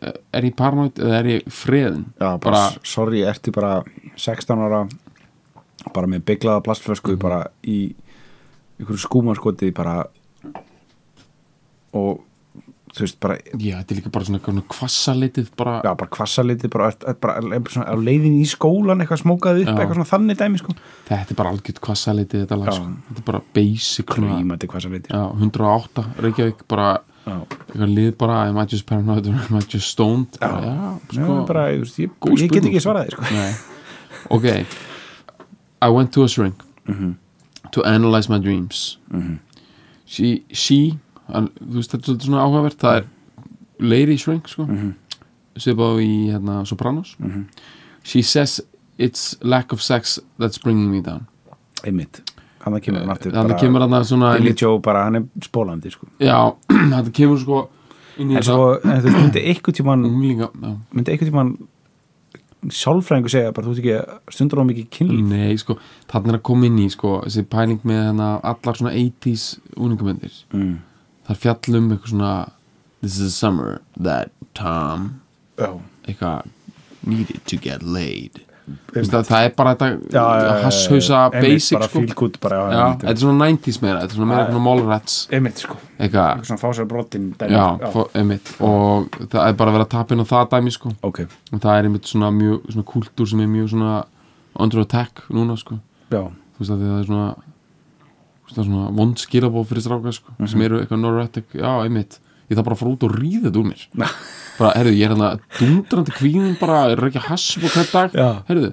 Speaker 3: eh, er ég paranoid eða er ég freðin
Speaker 2: já bara,
Speaker 3: bara,
Speaker 2: sorry, ertu bara 16 ára bara með bygglaða plastflösku bara í ykkur skúmaskoti bara og þú veist bara
Speaker 3: já, þetta er líka bara svona, svona kvassalitið bara,
Speaker 2: Já, bara kvassaliti, bara, ert- ert bara, bara svona, á leiðin í skólan eitthvað smókaði upp,
Speaker 3: Já.
Speaker 2: eitthvað svona þannig dæmi sko.
Speaker 3: þetta er bara algjört kvassalitið þetta lag,
Speaker 2: Já.
Speaker 3: sko. þetta er bara basic svona,
Speaker 2: Ímæti kvassaliti
Speaker 3: já, 108 Reykjavík, bara,
Speaker 2: Já.
Speaker 3: eitthvað lið bara am I just paranoid or am I just stoned já, já
Speaker 2: Sko,
Speaker 3: sko,
Speaker 2: bara, ég, ég,
Speaker 3: góð
Speaker 2: ég get
Speaker 3: spurning,
Speaker 2: ekki
Speaker 3: sko.
Speaker 2: svarað þér sko.
Speaker 3: Nei. <laughs> ok I went to a shrink
Speaker 2: Mhm.
Speaker 3: to analyze my dreams she, she hann, þú veist þetta er svolítið svona áhugavert það er lady shrink sko
Speaker 2: Mhm.
Speaker 3: mm -hmm. svipað í hérna Sopranos she says it's lack of sex that's bringing me down
Speaker 2: einmitt hann kemur hann aftur
Speaker 3: þannig
Speaker 2: bara-
Speaker 3: kemur hann svona
Speaker 2: Billy Joe bara, hann er spólandi sko.
Speaker 3: já, <clears throat> þetta kemur sko inn í
Speaker 2: en
Speaker 3: þetta
Speaker 2: svo, en þú veist, myndi einhvern tímann
Speaker 3: unglinga já.
Speaker 2: myndi einhvern tímann sálfræðingu segja bara, þú veist ekki, stundur á mikið kynlíf
Speaker 3: Nei, sko, þarna er að koma inn í sko, þessi pæling með hana, allar svona 80s úningamöndir
Speaker 2: Mm.
Speaker 3: þar fjallum eitthvað svona This is the summer that Tom
Speaker 2: já,
Speaker 3: eitthvað needed to get laid Vist, það, það er bara þetta
Speaker 2: já, já, já,
Speaker 3: hasshausa
Speaker 2: já, einmitt,
Speaker 3: basic
Speaker 2: bara
Speaker 3: sko.
Speaker 2: feel good bara, já,
Speaker 3: já,
Speaker 2: einmitt,
Speaker 3: þetta er svona 90s meira þetta er svona meira
Speaker 2: Já, já.
Speaker 3: svona mallrats
Speaker 2: einmitt sko,
Speaker 3: eitthvað,
Speaker 2: svona fásar brotin
Speaker 3: já, fó- einmitt og það er bara að vera að tappa inn á það dæmi sko.
Speaker 2: ok,
Speaker 3: og það er einmitt svona mjög svona kultúr sem er mjög svona under attack núna sko
Speaker 2: já,
Speaker 3: þú veist að því að það er svona þú veist, það er svona vond skilabóð fyrir stráka sko,
Speaker 2: Mhm.
Speaker 3: sem eru eitthvað neurotic, já, einmitt ég þarf bara að fara út og ríða þetta úr mér bara, heyrðu, ég er hérna dundrandi kvíðin bara, er ekki að hass og hvern dag
Speaker 2: Já.
Speaker 3: heyrðu,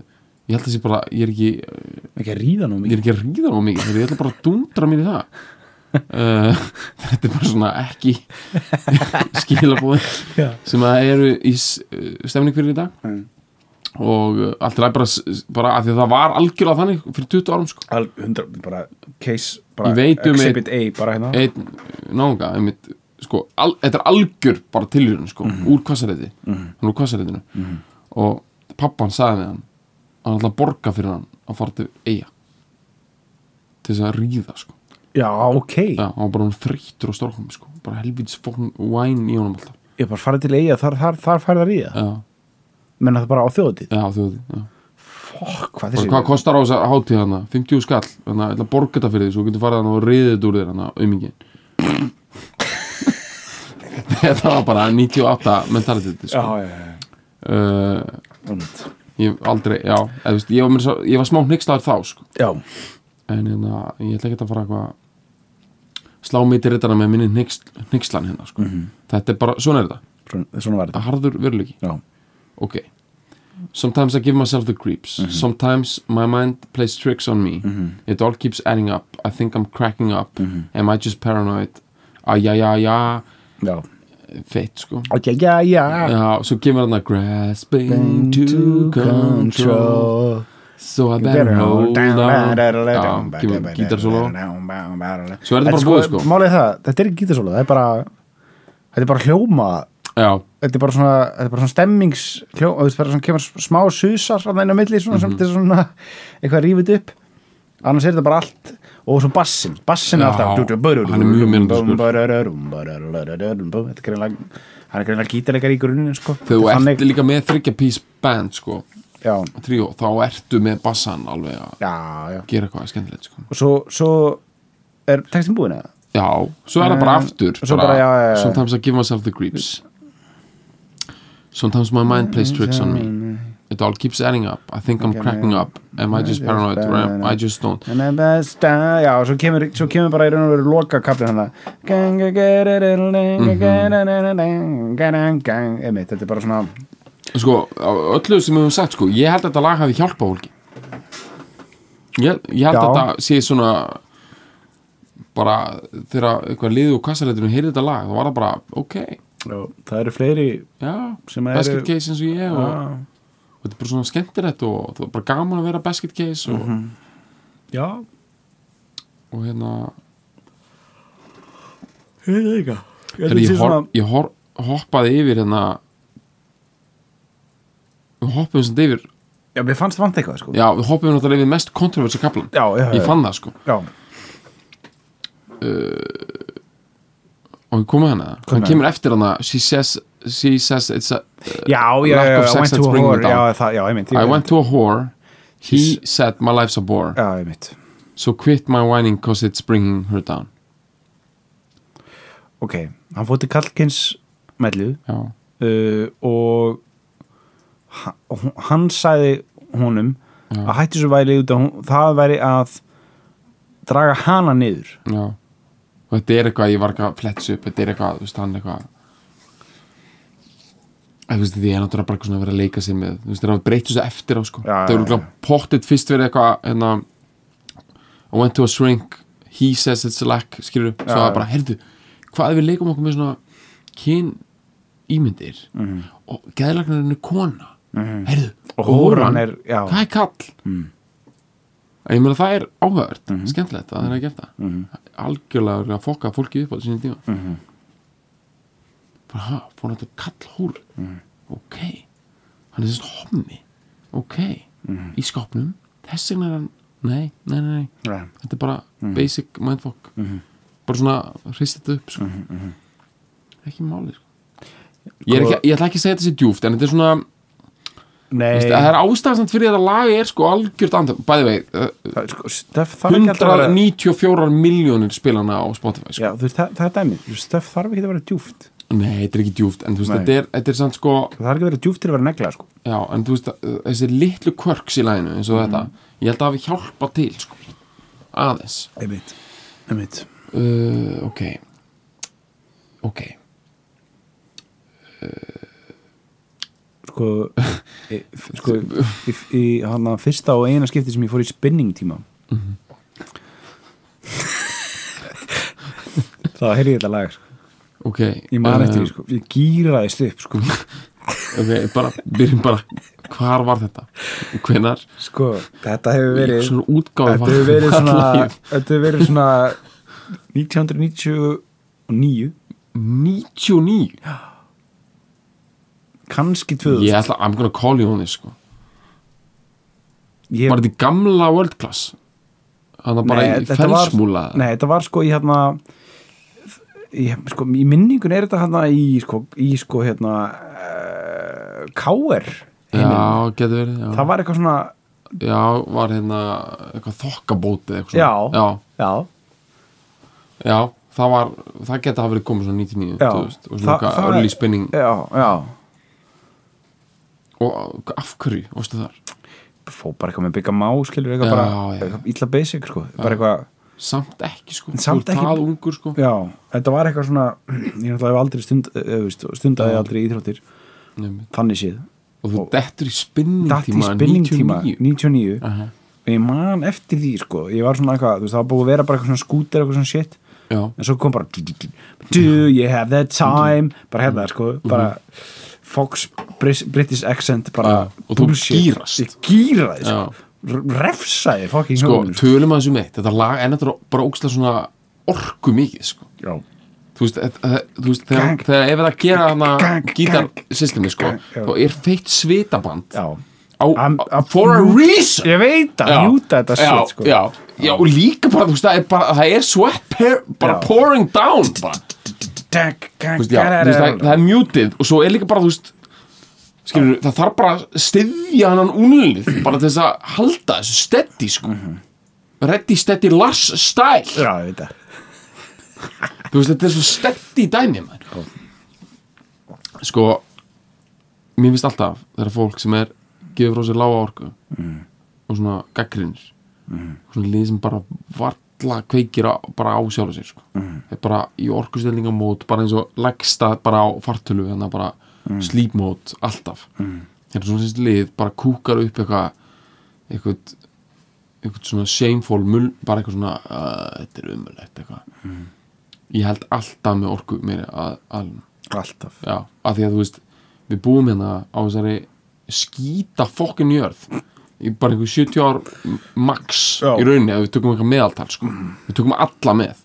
Speaker 3: ég held að sé bara ég er ekki,
Speaker 2: ekki að ríða nú
Speaker 3: ég
Speaker 2: mikið
Speaker 3: er ekki að ríða á mig heyrðu, ég ætla bara að dundra mér í það uh, <laughs> þetta er bara svona ekki <laughs> skilabóð
Speaker 2: já,
Speaker 3: sem að eru í s- uh, stemning fyrir í dag
Speaker 2: Mm.
Speaker 3: og uh, allt er bara, s- bara að því að það var algjörlega þannig fyrir 20 árum sko
Speaker 2: Al, hundra, bara case, bara
Speaker 3: Ég veit um
Speaker 2: exhibit A bara hérna,
Speaker 3: einn náunga einmitt, sko, al, þetta er algjör bara tilhjörn sko, úr kvassareiti hann úr kvassareitinu og pappan sagði við hann hann ætla að borga fyrir hann að fara til eiga til þess að ríða sko.
Speaker 2: já, ok
Speaker 3: Já, hann var bara hún þreyttur og stórkum sko. bara helvítis fórn væn í honum alltaf
Speaker 2: ég bara farið til eiga, þar, þar, þar færið að ríða
Speaker 3: já,
Speaker 2: menna það bara á þjóðatið
Speaker 3: já, þjóði já.
Speaker 2: fokk, hvað
Speaker 3: Bara,
Speaker 2: þessi
Speaker 3: hvað kostar á þess að hátíð hann 50 skall, þannig að ætla að borga þetta fyrir því svo þú getur farið hann og riðið þetta úr þér hann um ekki <laughs> þetta var bara 98 mentalitet sko.
Speaker 2: já, já, já,
Speaker 3: uh,
Speaker 2: já,
Speaker 3: ég hef aldrei, já, eða, þú veist, ég, var meira svo, ég var smá hnyggslaður þá sko.
Speaker 2: já.
Speaker 3: en hérna, ég ætla ekki að fara eitthvað slá mig til rittana með minni hnyggsl- hnyggslan hérna sko. þetta er bara, svona er þetta,
Speaker 2: svona, svona var
Speaker 3: þetta
Speaker 2: þetta
Speaker 3: er harður veruleiki
Speaker 2: já,
Speaker 3: ok sometimes I give myself the creeps sometimes my mind plays tricks on me it all keeps adding up I think I'm cracking up am I just paranoid ajajajá,
Speaker 2: já,
Speaker 3: feitt sko
Speaker 2: ok, já, já
Speaker 3: já, svo kemur hann að Ah. grasping to control So I better hold on Já, kemur gítarsóló Svo er þetta bara búið, sko.
Speaker 2: málið er það, þetta er ekki gítarsóla það er bara, þetta er bara hljóma
Speaker 3: Já,
Speaker 2: þetta er bara svona, þetta er bara svona stemmings þú veist, bara svona kemur smá susar að inn á milli, svona,
Speaker 3: Mhm.
Speaker 2: sem þetta er svona eitthvað rífið upp annars er þetta bara allt og svo bassin, bassin er
Speaker 3: Já,
Speaker 2: alltaf
Speaker 3: hann er mjög sko. myndarskur.
Speaker 2: Þetta er greinlega hann er greinlega gítarleikar í grunninn sko.
Speaker 3: þegar þú
Speaker 2: Þetta er
Speaker 3: ert
Speaker 2: þannig-
Speaker 3: líka með þryggja piece band sko,
Speaker 2: já,
Speaker 3: tríó, þá ertu með bassan alveg að
Speaker 2: já, já
Speaker 3: gera eitthvað skemmtilegt sko.
Speaker 2: og svo, svo er textin búin eða?
Speaker 3: já, svo er það bara
Speaker 2: Eh,
Speaker 3: aftur
Speaker 2: svo bara, já, já, já.
Speaker 3: sometimes I give myself the creeps sometimes my mind plays tricks on me it all keeps adding up I think I'm cracking up am I just paranoid or am I just don't
Speaker 2: And I'm best, uh, já, og svo kemur, svo kemur bara í raun og veru loka kaplin hann
Speaker 3: Mhm.
Speaker 2: að einmitt, þetta er bara svona
Speaker 3: sko, á öllu sem við höfum sagt sko, ég held að þetta lag hafi hjálpað fólki ég, ég held
Speaker 2: Já.
Speaker 3: að þetta sé svona bara þegar eitthvað liðið úr kassarættinu heyrði þetta lag, þá var það bara, ok
Speaker 2: Já, það eru fleiri Ah.
Speaker 3: já,
Speaker 2: Sem að
Speaker 3: basket
Speaker 2: eru-
Speaker 3: case eins og ég og, og þetta er bara svona skemmtilegt og það er bara gaman að vera basket case og,
Speaker 2: Mhm. já,
Speaker 3: og hérna
Speaker 2: hefur það ekki
Speaker 3: Þegar ég, hor, ég hor, hoppaði yfir hérna við hoppuðum samt yfir
Speaker 2: já, mér fannst vant eitthvað sko
Speaker 3: já, við hoppuðum náttúrulega yfir mest kontroversi kaplan
Speaker 2: já, já,
Speaker 3: ég fann það sko
Speaker 2: já,
Speaker 3: og hann komið hana, hann
Speaker 2: með
Speaker 3: kemur eftir hana she says, she says it's a,
Speaker 2: já, já,
Speaker 3: Lack
Speaker 2: já,
Speaker 3: of
Speaker 2: I
Speaker 3: sex
Speaker 2: went to
Speaker 3: that's
Speaker 2: a
Speaker 3: bringing
Speaker 2: whore
Speaker 3: me down.
Speaker 2: já, það, já, einmitt
Speaker 3: I
Speaker 2: ég-
Speaker 3: went to a whore he
Speaker 2: She's-
Speaker 3: said my life's a bore
Speaker 2: já, einmitt,
Speaker 3: so quit my whining cause it's bringing her down
Speaker 2: ok hann fótti Kalkins mellu
Speaker 3: já,
Speaker 2: uh, og ha- og hún- hann sagði honum að hættu svo væri út að hún, það væri að draga hana niður
Speaker 3: já og þetta er eitthvað, ég var eitthvað að fletsa upp þetta er eitthvað, þú veist, hann eitthvað Æ, þú veist, því er náttúrulega bara eitthvað svona að vera að leika sér með þú veist, þeir hafa breytt þessu eftir á, sko
Speaker 2: Já,
Speaker 3: það
Speaker 2: já,
Speaker 3: eru
Speaker 2: já.
Speaker 3: eitthvað pottet fyrst verið eitthvað hérna, I went to a shrink he says it's a lack, skilur svo
Speaker 2: Já,
Speaker 3: það
Speaker 2: já.
Speaker 3: bara, heyrðu, hvað ef við leikum okkur með svona kyn ímyndir og geðlagnarinn er kona heyrðu,
Speaker 2: Mhm. Og hóran er- já.
Speaker 3: það er kall ég meina það er áhört skemmtilegt að það er að gera það algjörlega örugglega að fokka fólki upp á þessum tíma mm -hmm. bara ha, fór hann þetta kall húr ok, hann er þess hommi ok, í skápnum þess vegna er hann, nei, nei, nei, nei
Speaker 2: Já.
Speaker 3: þetta er bara basic mindfuck bara svona hristið þetta upp sko. ekki máli sko. ég, er ekki, ég ætla ekki að segja þetta sér djúft en þetta er svona
Speaker 2: Nei,
Speaker 3: Veist, það er ástæðan fyrir að þetta lag er sko algjört andam, bæði vei
Speaker 2: það, sko, Stöf þarf ekki alltaf að vera
Speaker 3: 194 miljónir spilana á Spotify sko.
Speaker 2: Já, þú veist, það, það er dæmið, Þú veist, stöf þarf ekki að vera djúft
Speaker 3: nei, þetta er ekki djúft en þú veist,
Speaker 2: Nei.
Speaker 3: þetta er, þetta er samt sko
Speaker 2: það þarf ekki að vera djúft til að vera negla sko.
Speaker 3: já, en þú veist, uh, þessi litlu kvörks í laginu eins og
Speaker 2: Mm.
Speaker 3: þetta, ég held að hafi hjálpa til sko, aðeins
Speaker 2: einmitt, einmitt
Speaker 3: uh, ok ok,
Speaker 2: <laughs> sko, e, sko í, í hana, fyrsta og eina skipti sem ég fór í spinning tíma Mhm. <laughs> þá heyrði ég þetta lag sko.
Speaker 3: ok
Speaker 2: ég man
Speaker 3: uh,
Speaker 2: eftir því, sko. ég gýraðist upp sko.
Speaker 3: ok, bara, byrjum bara hvar var þetta, hvenar
Speaker 2: sko, þetta hefur verið
Speaker 3: svona útgáð
Speaker 2: þetta hefur verið svona þetta hefur verið <laughs> svona 1999
Speaker 3: 99
Speaker 2: kannski 2000
Speaker 3: ég ætla, I'm gonna call you on this sko.
Speaker 2: ég,
Speaker 3: var þetta í gamla world class hann var bara í
Speaker 2: þetta var-
Speaker 3: felsmúla
Speaker 2: Nei, þetta var sko í hérna í, sko, í minningun er þetta hérna í sko, í, sko hérna uh, K.R. heiminum.
Speaker 3: já, getur verið já.
Speaker 2: Það var eitthvað svona
Speaker 3: já, var hérna eitthvað þokkabótið eitthvað
Speaker 2: Já,
Speaker 3: svona.
Speaker 2: já,
Speaker 3: já, já, það var það geta hafa verið komið svona 99
Speaker 2: já.
Speaker 3: 2000, og svona eitthvað early spinning
Speaker 2: Já, já
Speaker 3: og af hverju, veistu þar
Speaker 2: Fó bara eitthvað með bygga má, skilur eitthvað
Speaker 3: Já,
Speaker 2: bara
Speaker 3: já.
Speaker 2: eitthvað illa basic, sko bara eitthvað,
Speaker 3: samt ekki sko,
Speaker 2: En samt
Speaker 3: þú ert
Speaker 2: ekki-
Speaker 3: það ungur sko
Speaker 2: já, þetta var eitthvað svona <clears throat> ég náttúrulega hef aldrei stund, eh, veist, stundaði aldrei íþróttir,
Speaker 3: Nei,
Speaker 2: þannig séð
Speaker 3: og þú
Speaker 2: Og-
Speaker 3: dettur í spinning
Speaker 2: datt í
Speaker 3: tíma
Speaker 2: spinning tíma
Speaker 3: 99
Speaker 2: 99
Speaker 3: Aha.
Speaker 2: og ég man eftir því sko ég var svona eitthvað, þú veist, það var búið að vera bara eitthvað svona skúter eitthvað svona shit,
Speaker 3: já,
Speaker 2: en svo kom bara do you have that time bara hérna sko,
Speaker 3: Mhm.
Speaker 2: bara Fox Bris- British accent bara
Speaker 3: Já, og þú
Speaker 2: bullshit.
Speaker 3: gírast.
Speaker 2: ég gýraði
Speaker 3: já
Speaker 2: sko, R- refsaði fucking
Speaker 3: sko,
Speaker 2: höfunum,
Speaker 3: tölum að þessu meitt þetta lag er náttúrulega bara ógstlega svona orku mikið sko
Speaker 2: já,
Speaker 3: þú veist, að- að- þú veist þegar,
Speaker 2: Gang.
Speaker 3: þegar ef það gera hana
Speaker 2: Gang, gang.
Speaker 3: gítarsystemi sko,
Speaker 2: Gang, já.
Speaker 3: þá er feitt svitaband
Speaker 2: já
Speaker 3: á,
Speaker 2: Am-
Speaker 3: á, for a reason
Speaker 2: ég veit að mjúta þetta
Speaker 3: já,
Speaker 2: shit sko
Speaker 3: já, já, og líka bara, þú veist, það er bara, það er sweat per, bara
Speaker 2: Já.
Speaker 3: pouring down bara,
Speaker 2: Dag, gang,
Speaker 3: þú veist, já, þú veist, það, það er muted og svo er líka bara, þú veist skilur, það þarf bara að styðja hann unlið, bara til þess að halda þessu steady, sko
Speaker 2: Mhm.
Speaker 3: ready, steady, Lars style
Speaker 2: já, ég veit það
Speaker 3: þú veist, þetta er svo steady dæmi man. sko mér finnst alltaf þegar fólk sem er gefur á sér lága orku og svona gaggrinir svona lið sem bara varla kveikir á, bara á sjálf sér sko. er bara í orkustellingamót bara eins og leggsta bara á fartölu þannig að bara mm. slípmót alltaf mm. er svona þessi lið bara kúkar upp eitthvað eitthvað eitthvað svona shameful mul, bara eitthvað svona uh, þetta er umulegt eitthvað ég held alltaf með orku mér að, að
Speaker 2: alltaf
Speaker 3: já, af því að þú veist við búum hérna á þessari skýta fokkin jörð í bara einhver 70 ár m- max
Speaker 2: Já. Mhm.
Speaker 3: í rauninni að við tökum eitthvað meðaltal sko. við tökum alla með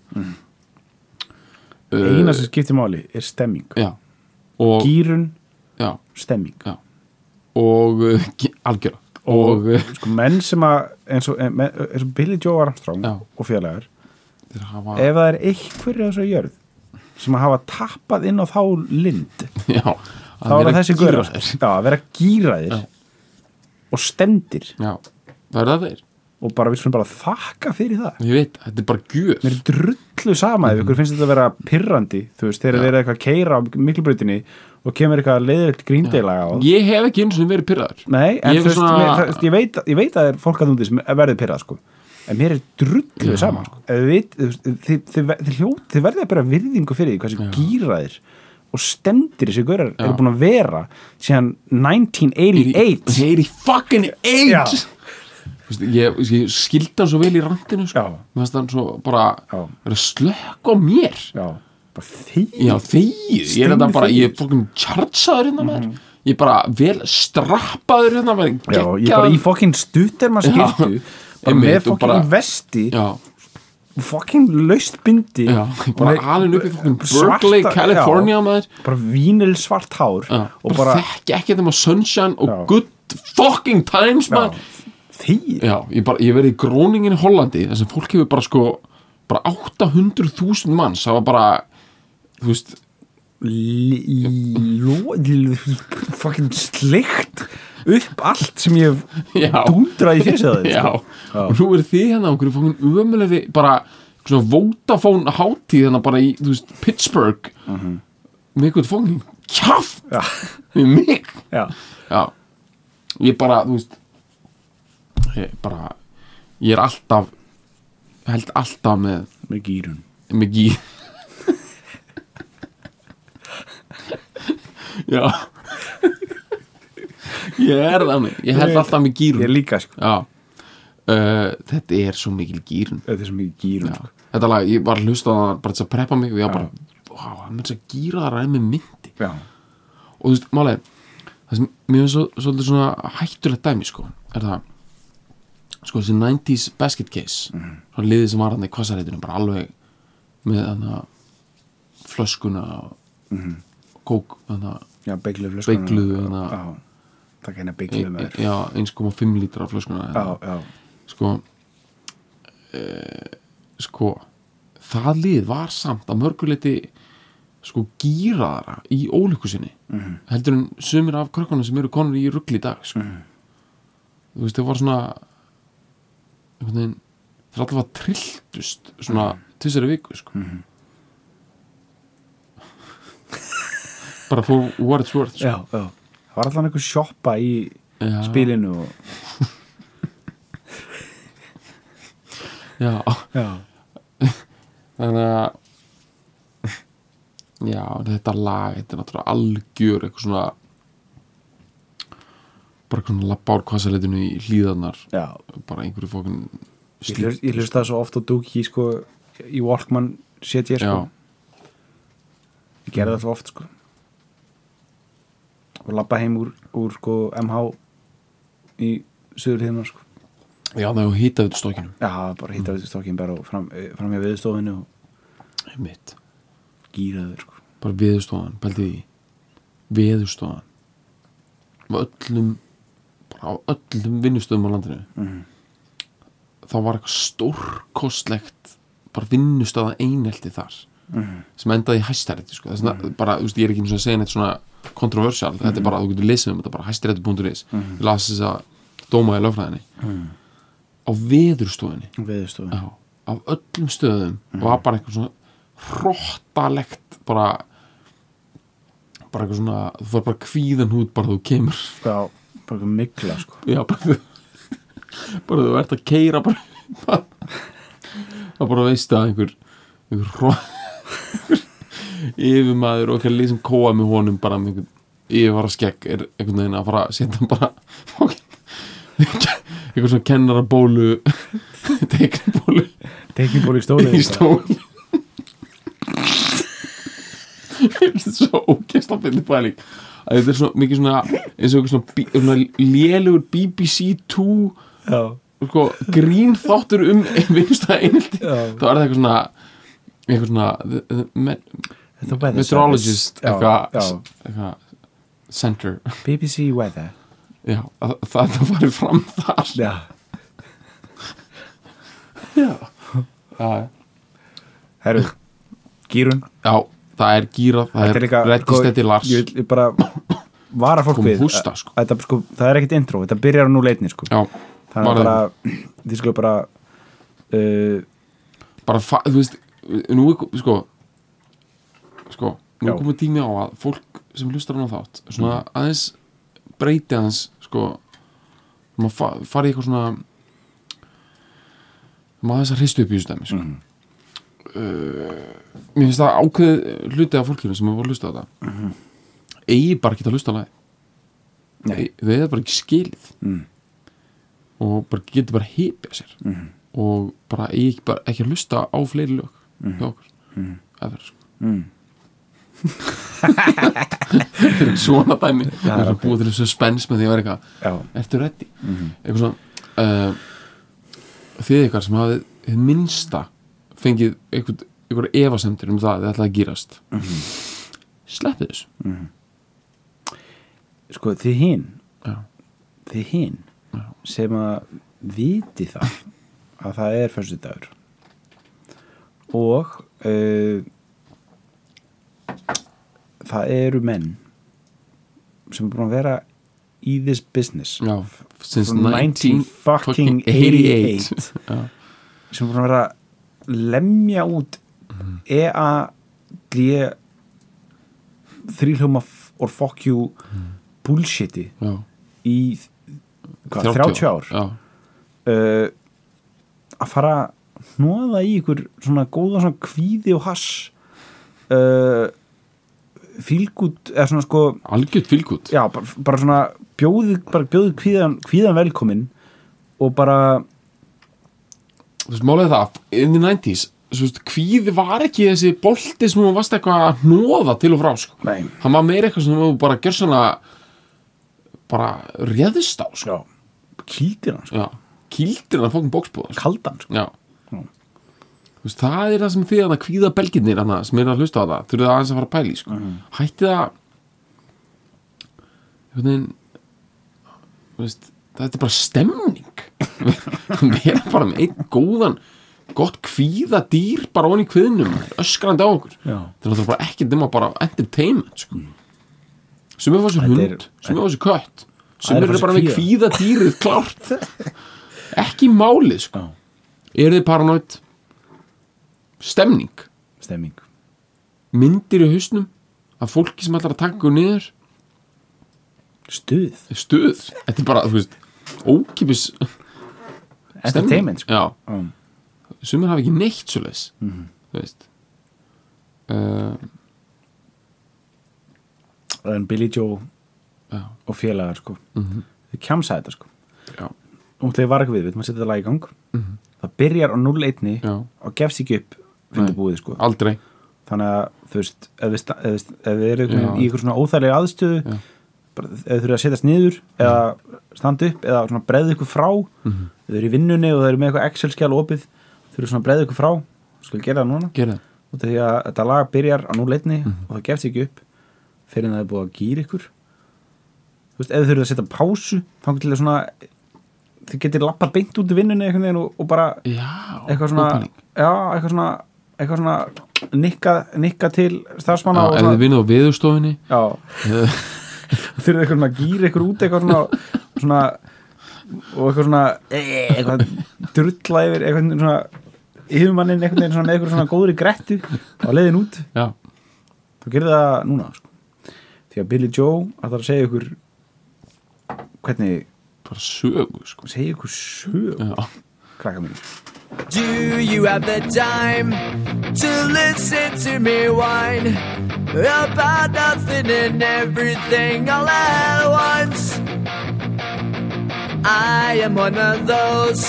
Speaker 3: Eh,
Speaker 2: eina sem skiptir máli er stemming
Speaker 3: já, og,
Speaker 2: gýrun,
Speaker 3: já,
Speaker 2: stemming
Speaker 3: og uh, ge- algjöra og, eh, og
Speaker 2: sko, menn sem að eins og, menn- eins og Billy Joe Armstrong
Speaker 3: Já.
Speaker 2: og félagar
Speaker 3: þeir hafa
Speaker 2: ef það er einhverju á þessu jörð sem að hafa tappað inn á þá lind
Speaker 3: <laughs> já,
Speaker 2: þá er það þessi
Speaker 3: gíra
Speaker 2: gaurar sko. já, að vera gýraðir
Speaker 3: Já.
Speaker 2: og stemdir
Speaker 3: já, það er það þeir
Speaker 2: og bara við skulum bara þakka fyrir það
Speaker 3: ég veit, þetta er bara gjöf
Speaker 2: mér er drullu sama ef ykkur finnst þetta að vera pirrandi þú veist, þegar
Speaker 3: Mhm. Já.
Speaker 2: þeir eru eitthvað að keira á miklubrautinni og kemur eitthvað leiðilegt gríndeilaga á
Speaker 3: ég hef ekki eins og verið pyrraður
Speaker 2: Nei, en
Speaker 3: Ég
Speaker 2: þú veist,
Speaker 3: svona-
Speaker 2: mér, það, ég, veit, ég veit að það er fólk að þú sem verður pyrrað sko. en mér er drullu
Speaker 3: Já.
Speaker 2: saman sko. Ef þið vit- þú veist, þið, þið, þið, hljóð, þið verður að bera virðingu fyrir því hversu gýraðir og stendir þessi gaurar eru búin að vera síðan 1988
Speaker 3: Heyri fucking
Speaker 2: Já.
Speaker 3: 8 Vist, ég, ég skildi hann svo vel í randinu sko.
Speaker 2: Já.
Speaker 3: Mér fannst hann svo bara
Speaker 2: Já.
Speaker 3: vera slökk á mér
Speaker 2: Já, bara þið
Speaker 3: Já, þegið Ég er þetta
Speaker 2: Steinþegið.
Speaker 3: bara, ég er fucking tjartsaður hérna maður Ég er bara vel strappaður hérna maður
Speaker 2: Mhm. Já, ég bara í fokkin stuttir maður
Speaker 3: Já.
Speaker 2: skiltu bara
Speaker 3: Einmitt,
Speaker 2: með
Speaker 3: og
Speaker 2: fokkin
Speaker 3: bara-
Speaker 2: vesti
Speaker 3: Já,
Speaker 2: fokkin laust bindi
Speaker 3: já, ég bara
Speaker 2: og með
Speaker 3: alveg upp í fucking
Speaker 2: svarta-
Speaker 3: Berkeley, California
Speaker 2: já,
Speaker 3: maður
Speaker 2: bara vínil svart hár
Speaker 3: Já,
Speaker 2: og
Speaker 3: bara
Speaker 2: bara
Speaker 3: þekki ekki þeim á Sunshine og
Speaker 2: Já.
Speaker 3: good fucking times
Speaker 2: já,
Speaker 3: maður
Speaker 2: þið
Speaker 3: Já, ég, bara, ég verið í gróningin í Hollandi þar sem fólk hefur bara sko bara 800.000 manns það var bara, þú veist
Speaker 2: ljóð fucking slikt upp allt sem ég
Speaker 3: Já.
Speaker 2: hef dúndraði fyrir sig það
Speaker 3: <laughs> já,
Speaker 2: sko.
Speaker 3: og nú er þið hérna okkur fókin ömulegri bara svona Vodafone hátíð hérna bara í, þú veist, Pittsburgh með eitthvað fókin kjaft
Speaker 2: Mhm. Já.
Speaker 3: við mig
Speaker 2: já,
Speaker 3: já, ég bara, þú veist ég bara ég er alltaf held alltaf með
Speaker 2: með gýrun
Speaker 3: með gí <laughs> já <laughs> ég er þannig ég held alltaf með gýrun
Speaker 2: ég er líka sko,
Speaker 3: já uh, þetta er svo mikil gýrun
Speaker 2: þetta er svo mikið gýrun sko.
Speaker 3: þetta lag, ég var að hlusta á það bara til að preppa mig og ég var bara, vá, hann er þess að gýra það ræði með myndi
Speaker 2: já,
Speaker 3: og þú veist, málega það sem mér finnst svo, svolítið svona hættulegt dæmi sko, er það sko þessi 90s basket case mm -hmm. liðið sem var hann í kvassareitinu bara alveg með hann flöskuna og kók, hann
Speaker 2: já, beigluðu flöskuna
Speaker 3: beigluðu hann
Speaker 2: já, takk henni að beigluðu með þér
Speaker 3: já, 1,5 lítra flöskuna hérna.
Speaker 2: já, já,
Speaker 3: sko e, sko það lið var samt að mörguleiti sko gýraðara í ólíku sinni -hmm. heldur en sumir af krökkunum sem eru konur í ruggli í dag sko. þú veist, það var svona einhvern veginn þeir alltaf að trilltust svona mm. tvisari viku sko -hmm. bara for what it's worth sko.
Speaker 2: já, já það var allan einhver sjoppa í
Speaker 3: Já.
Speaker 2: spilinu og,
Speaker 3: já
Speaker 2: já,
Speaker 3: þannig að já, þetta lag þetta er náttúrulega algjör eitthvað svona bara eitthvað svona labba úr kvassaletinu í hlíðarnar
Speaker 2: já
Speaker 3: bara einhverju fókin
Speaker 2: ég hlust- ég hlusta það svo oft á Dookie sko, í Walkman set ég sko
Speaker 3: já,
Speaker 2: ég gerði það svo oft sko og lappa heim úr, úr sko MH í söður hérna sko
Speaker 3: já, það er hýta við stokkinu
Speaker 2: Mm. já, bara hýtta við stokkin bara og fram, eh, fram hjá viðstofinu og
Speaker 3: mitt
Speaker 2: gýraður sko.
Speaker 3: bara veðurstofan, pældi því veðurstofan á öllum bara á öllum vinnustöðum á landinu
Speaker 2: Mhm.
Speaker 3: þá var eitthvað stórkostlegt bara vinnustöða einelti þar
Speaker 2: Mhm.
Speaker 3: sem endaði í hæstarétti sko. þess að bara, þú veist, ég er ekki einu sinni að segja neitt svona kontroversial,
Speaker 2: Mhm.
Speaker 3: þetta er bara, þú getur lesið um þetta bara hæstarétti.is, ég las þess að dóma í lögfræðinni
Speaker 2: Mhm.
Speaker 3: á veðurstofunni
Speaker 2: veðurstofu
Speaker 3: já, á öllum stöðum var bara eitthvað svona hróttalegt bara bara eitthvað svona, þú var bara kvíðan hút bara þú kemur
Speaker 2: já, Sko, bara eitthvað mikla sko.
Speaker 3: já, bara, bara þú ert að keira bara, bara það bara veist að einhver einhver hró yfirmaður og okkar lið sem kóa með honum bara með einhver yfirvara skegg er einhvern veginn að fara að setja hann bara einhver svona kennarabólu <laughs> teiknabólu
Speaker 2: tekin ból í sko. stóli
Speaker 3: í stól Mér finnst þetta svo ógæst að finna pæling að þetta er svona mikið svona eins og einhver svona, bí- svona lélugur BBC 2
Speaker 2: já,
Speaker 3: sko, grín þáttur um vinnstæða einhelti
Speaker 2: já.
Speaker 3: þá er það eitthvað svona eitthvað svona the- the met-
Speaker 2: Þetta er weather
Speaker 3: meteorologist
Speaker 2: service. já,
Speaker 3: eitthvað
Speaker 2: já.
Speaker 3: eitthvað center <laughs>
Speaker 2: BBC weather
Speaker 3: já, að, það, það farið fram þar
Speaker 2: já,
Speaker 3: já,
Speaker 2: herru, gýrun
Speaker 3: já það er gíra, það
Speaker 2: Þetta
Speaker 3: er,
Speaker 2: er líka
Speaker 3: er reddistætti
Speaker 2: sko,
Speaker 3: Lars
Speaker 2: ég vil- ég bara vara fólk
Speaker 3: Kom
Speaker 2: við
Speaker 3: hústa, sko.
Speaker 2: að, að, sko, það er ekkert intro, þetta byrjar á núleitni sko.
Speaker 3: já,
Speaker 2: þannig
Speaker 3: bara-
Speaker 2: að bara <clears throat> þið skulle bara uh,
Speaker 3: bara, fa- þú veist nú er, kom- sko sko, nú
Speaker 2: Já. Mm.
Speaker 3: er komið tími á að fólk sem hlustar hann á þátt svona aðeins breyti aðeins sko, maður fa farið eitthvað svona maður aðeins að hristu upp í þessu dæmi sko.
Speaker 2: Mm.
Speaker 3: uh, mér finnst það ákveð hluti af fólkinu sem hefur voru að hlusta á þetta mm
Speaker 2: Mm-hmm.
Speaker 3: eigi bara ekki að hlusta á lagi
Speaker 2: nei,
Speaker 3: þau hefur bara ekki skilið
Speaker 2: Mm.
Speaker 3: og bara getur bara heipið sér mm. og bara eigi ekki, bara, ekki að hlusta á fleiri lög
Speaker 2: Mhm.
Speaker 3: hjá okkur eða sko. <laughs>
Speaker 2: mm,
Speaker 3: Þetta er svona dæmi
Speaker 2: Já,
Speaker 3: það
Speaker 2: ok.
Speaker 3: er
Speaker 2: Mhm.
Speaker 3: að búa til þessu spens með því að vera eitthvað
Speaker 2: já,
Speaker 3: ertu reddi eitthvað svona uh, þið eitthvað sem hafið hið minnsta fengið eitthvað, eitthvað efasemtir um það að þið ætlaði að gýrast mm -hmm.
Speaker 2: Mhm.
Speaker 3: sleppið þessu
Speaker 2: mm. sko þið hinn
Speaker 3: já,
Speaker 2: þið hinn
Speaker 3: Já.
Speaker 2: sem að viti það að það er fyrstu dagur og uh, það eru menn sem er búin að vera í this business
Speaker 3: já since
Speaker 2: From
Speaker 3: 1988
Speaker 2: 1988.
Speaker 3: já,
Speaker 2: sem er búin að vera að lemja út E EAD þrýhljóma or fuck you bullshiti
Speaker 3: já
Speaker 2: í hvað, 30 ár
Speaker 3: já,
Speaker 2: uh, að fara að hnoða í ykkur svona góða svona kvíði og hass uh, fílgút eða svona sko
Speaker 3: algjört fylgút
Speaker 2: já, bara, bara svona bjóði, bara bjóði kvíðan, kvíðan velkomin og bara
Speaker 3: þú veist, málega það, in the 90s þú veist, kvíði var ekki þessi bolti sem þú varst eitthvað að hnoða til og frá sko.
Speaker 2: Nei.
Speaker 3: hann var meira eitthvað sem þú bara gjör svona bara réðist á sko.
Speaker 2: já, kýldir hann sko,
Speaker 3: já, kýldir hann að fókum bóksbúða sko.
Speaker 2: kaldan sko.
Speaker 3: já
Speaker 2: Já.
Speaker 3: Þú veist, það er það sem því að kvíða belginir hana, sem er að hlusta á það, þurfið það aðeins að fara að pæli sko.
Speaker 2: Mhm.
Speaker 3: hætti það einhvern veginn þú veist, þetta er bara <laughs> stemning vera bara með einn góðan gott kvíða dýr bara ofan í kviðnum öskrandi á okkur
Speaker 2: Já. Mhm.
Speaker 3: það er náttúrulega bara ekki nema bara entertainment sko. sem er þessi
Speaker 2: Þetta er-
Speaker 3: hund sem er þessi kött sem
Speaker 2: Það er
Speaker 3: eru
Speaker 2: þessi
Speaker 3: bara með kvíða
Speaker 2: <laughs>
Speaker 3: dýrið klárt ekki málið sko.
Speaker 2: Já.
Speaker 3: eru þið paranoid stemning
Speaker 2: stemming
Speaker 3: myndir í hausnum að fólki sem ætlar að taka ykkur niður
Speaker 2: stuð,
Speaker 3: stuð, þetta er bara, þú veist ókipis
Speaker 2: entertainment sko. Mhm.
Speaker 3: já,
Speaker 2: Mm.
Speaker 3: sumir hafa ekki neitt svo leis þú veist uh,
Speaker 2: en Billy Joe
Speaker 3: já,
Speaker 2: og félagar sko.
Speaker 3: Mhm.
Speaker 2: þau kjamsaði þetta sko.
Speaker 3: já,
Speaker 2: og þegar var ekki við, við maður setja þetta lag í gang það byrjar á 0-1
Speaker 3: Mhm. já,
Speaker 2: og gefst ekki upp fyrir
Speaker 3: Nei.
Speaker 2: búið sko.
Speaker 3: aldrei
Speaker 2: þannig að þú veist ef við, sta- ef við, ef við erum
Speaker 3: Já.
Speaker 2: í ykkur svona óþægilega aðstöðu
Speaker 3: Já.
Speaker 2: bara, ef þið þurfið að setjast niður eða standa upp eða svona breiðu ykkur frá
Speaker 3: Mhm.
Speaker 2: ef þið eru í vinnunni og þið eru með eitthvað Excel-skjál opið þurfið svona að breiða ykkur frá skal gera það núna
Speaker 3: gera það
Speaker 2: út af því að þetta lag byrjar á núleitni
Speaker 3: Mhm.
Speaker 2: og það gefst ekki upp fyrir en það er búið að gýra ykkur þú veist, ef þau þurfið að setja pásu þá getur það svona þau getur lappað beint út í vinnunni einhvern veginn og, og bara
Speaker 3: já,
Speaker 2: eitthvað svona
Speaker 3: opening.
Speaker 2: já, eitthvað svona, eitthvað svona nikka, nikka til
Speaker 3: já,
Speaker 2: starfsmanna og
Speaker 3: ef þið
Speaker 2: svona,
Speaker 3: vinnið á viðurstofinni
Speaker 2: já,
Speaker 3: <laughs> eh,
Speaker 2: þurfið eitthvað svona að gýra ykkur út eitthvað svona, svona og eitthvað svona eh, eitthvað drulla yfir eitthvað svona yfirmanninn einhvern veginn svona með eitthvað svona góðri grettu á leiðin út
Speaker 3: já,
Speaker 2: þú gerir það núna sko. því að Billy Joe ætlar að segja ykkur hvernig
Speaker 3: bara sögu sko.
Speaker 2: segja ykkur sög
Speaker 3: já,
Speaker 2: krakka mín
Speaker 4: Do you have the time to listen to me whine about nothing and everything all at once? I am one of those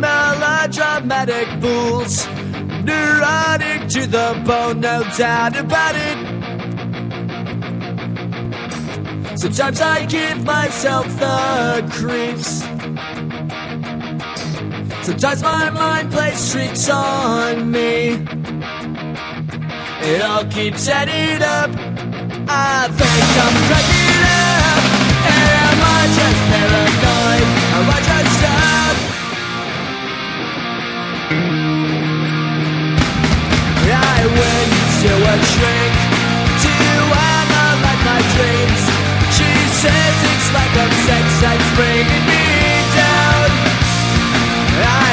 Speaker 4: melodramatic fools, neurotic to the bone, no doubt about it. Sometimes I give myself the creeps. Sometimes my mind plays tricks on me. It all keeps adding up. I think I'm cracking up. And am I just paranoid? Am I just stuck? I went to a shrink to analyze my dreams. She says it's like I'm sex that's bringing me down. I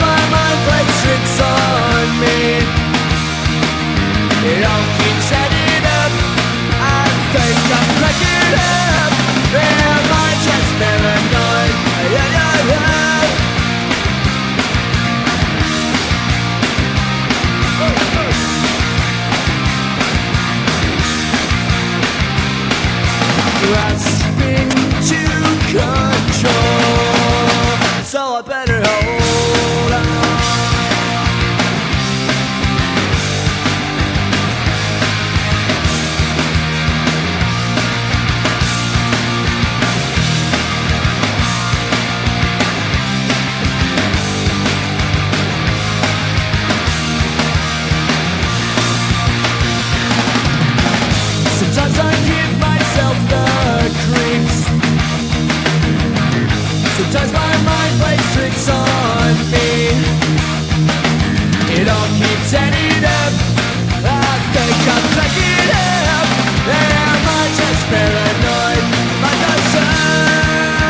Speaker 4: my mind plays tricks on me. It all keeps adding up. I think I'm cracking up. Am I just paranoid? Yeah, yeah, yeah. grasping to control. So I better hold on. Sometimes I give myself the creeps. Sometimes my mind plays tricks on me. It all keeps adding up. I think I'm cracking up. Am I just paranoid? Am I just sad?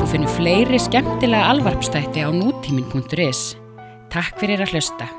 Speaker 1: Þú finnir fleiri skemmtilega alvarpstætti á nútímin.is. Takk fyrir að hlusta.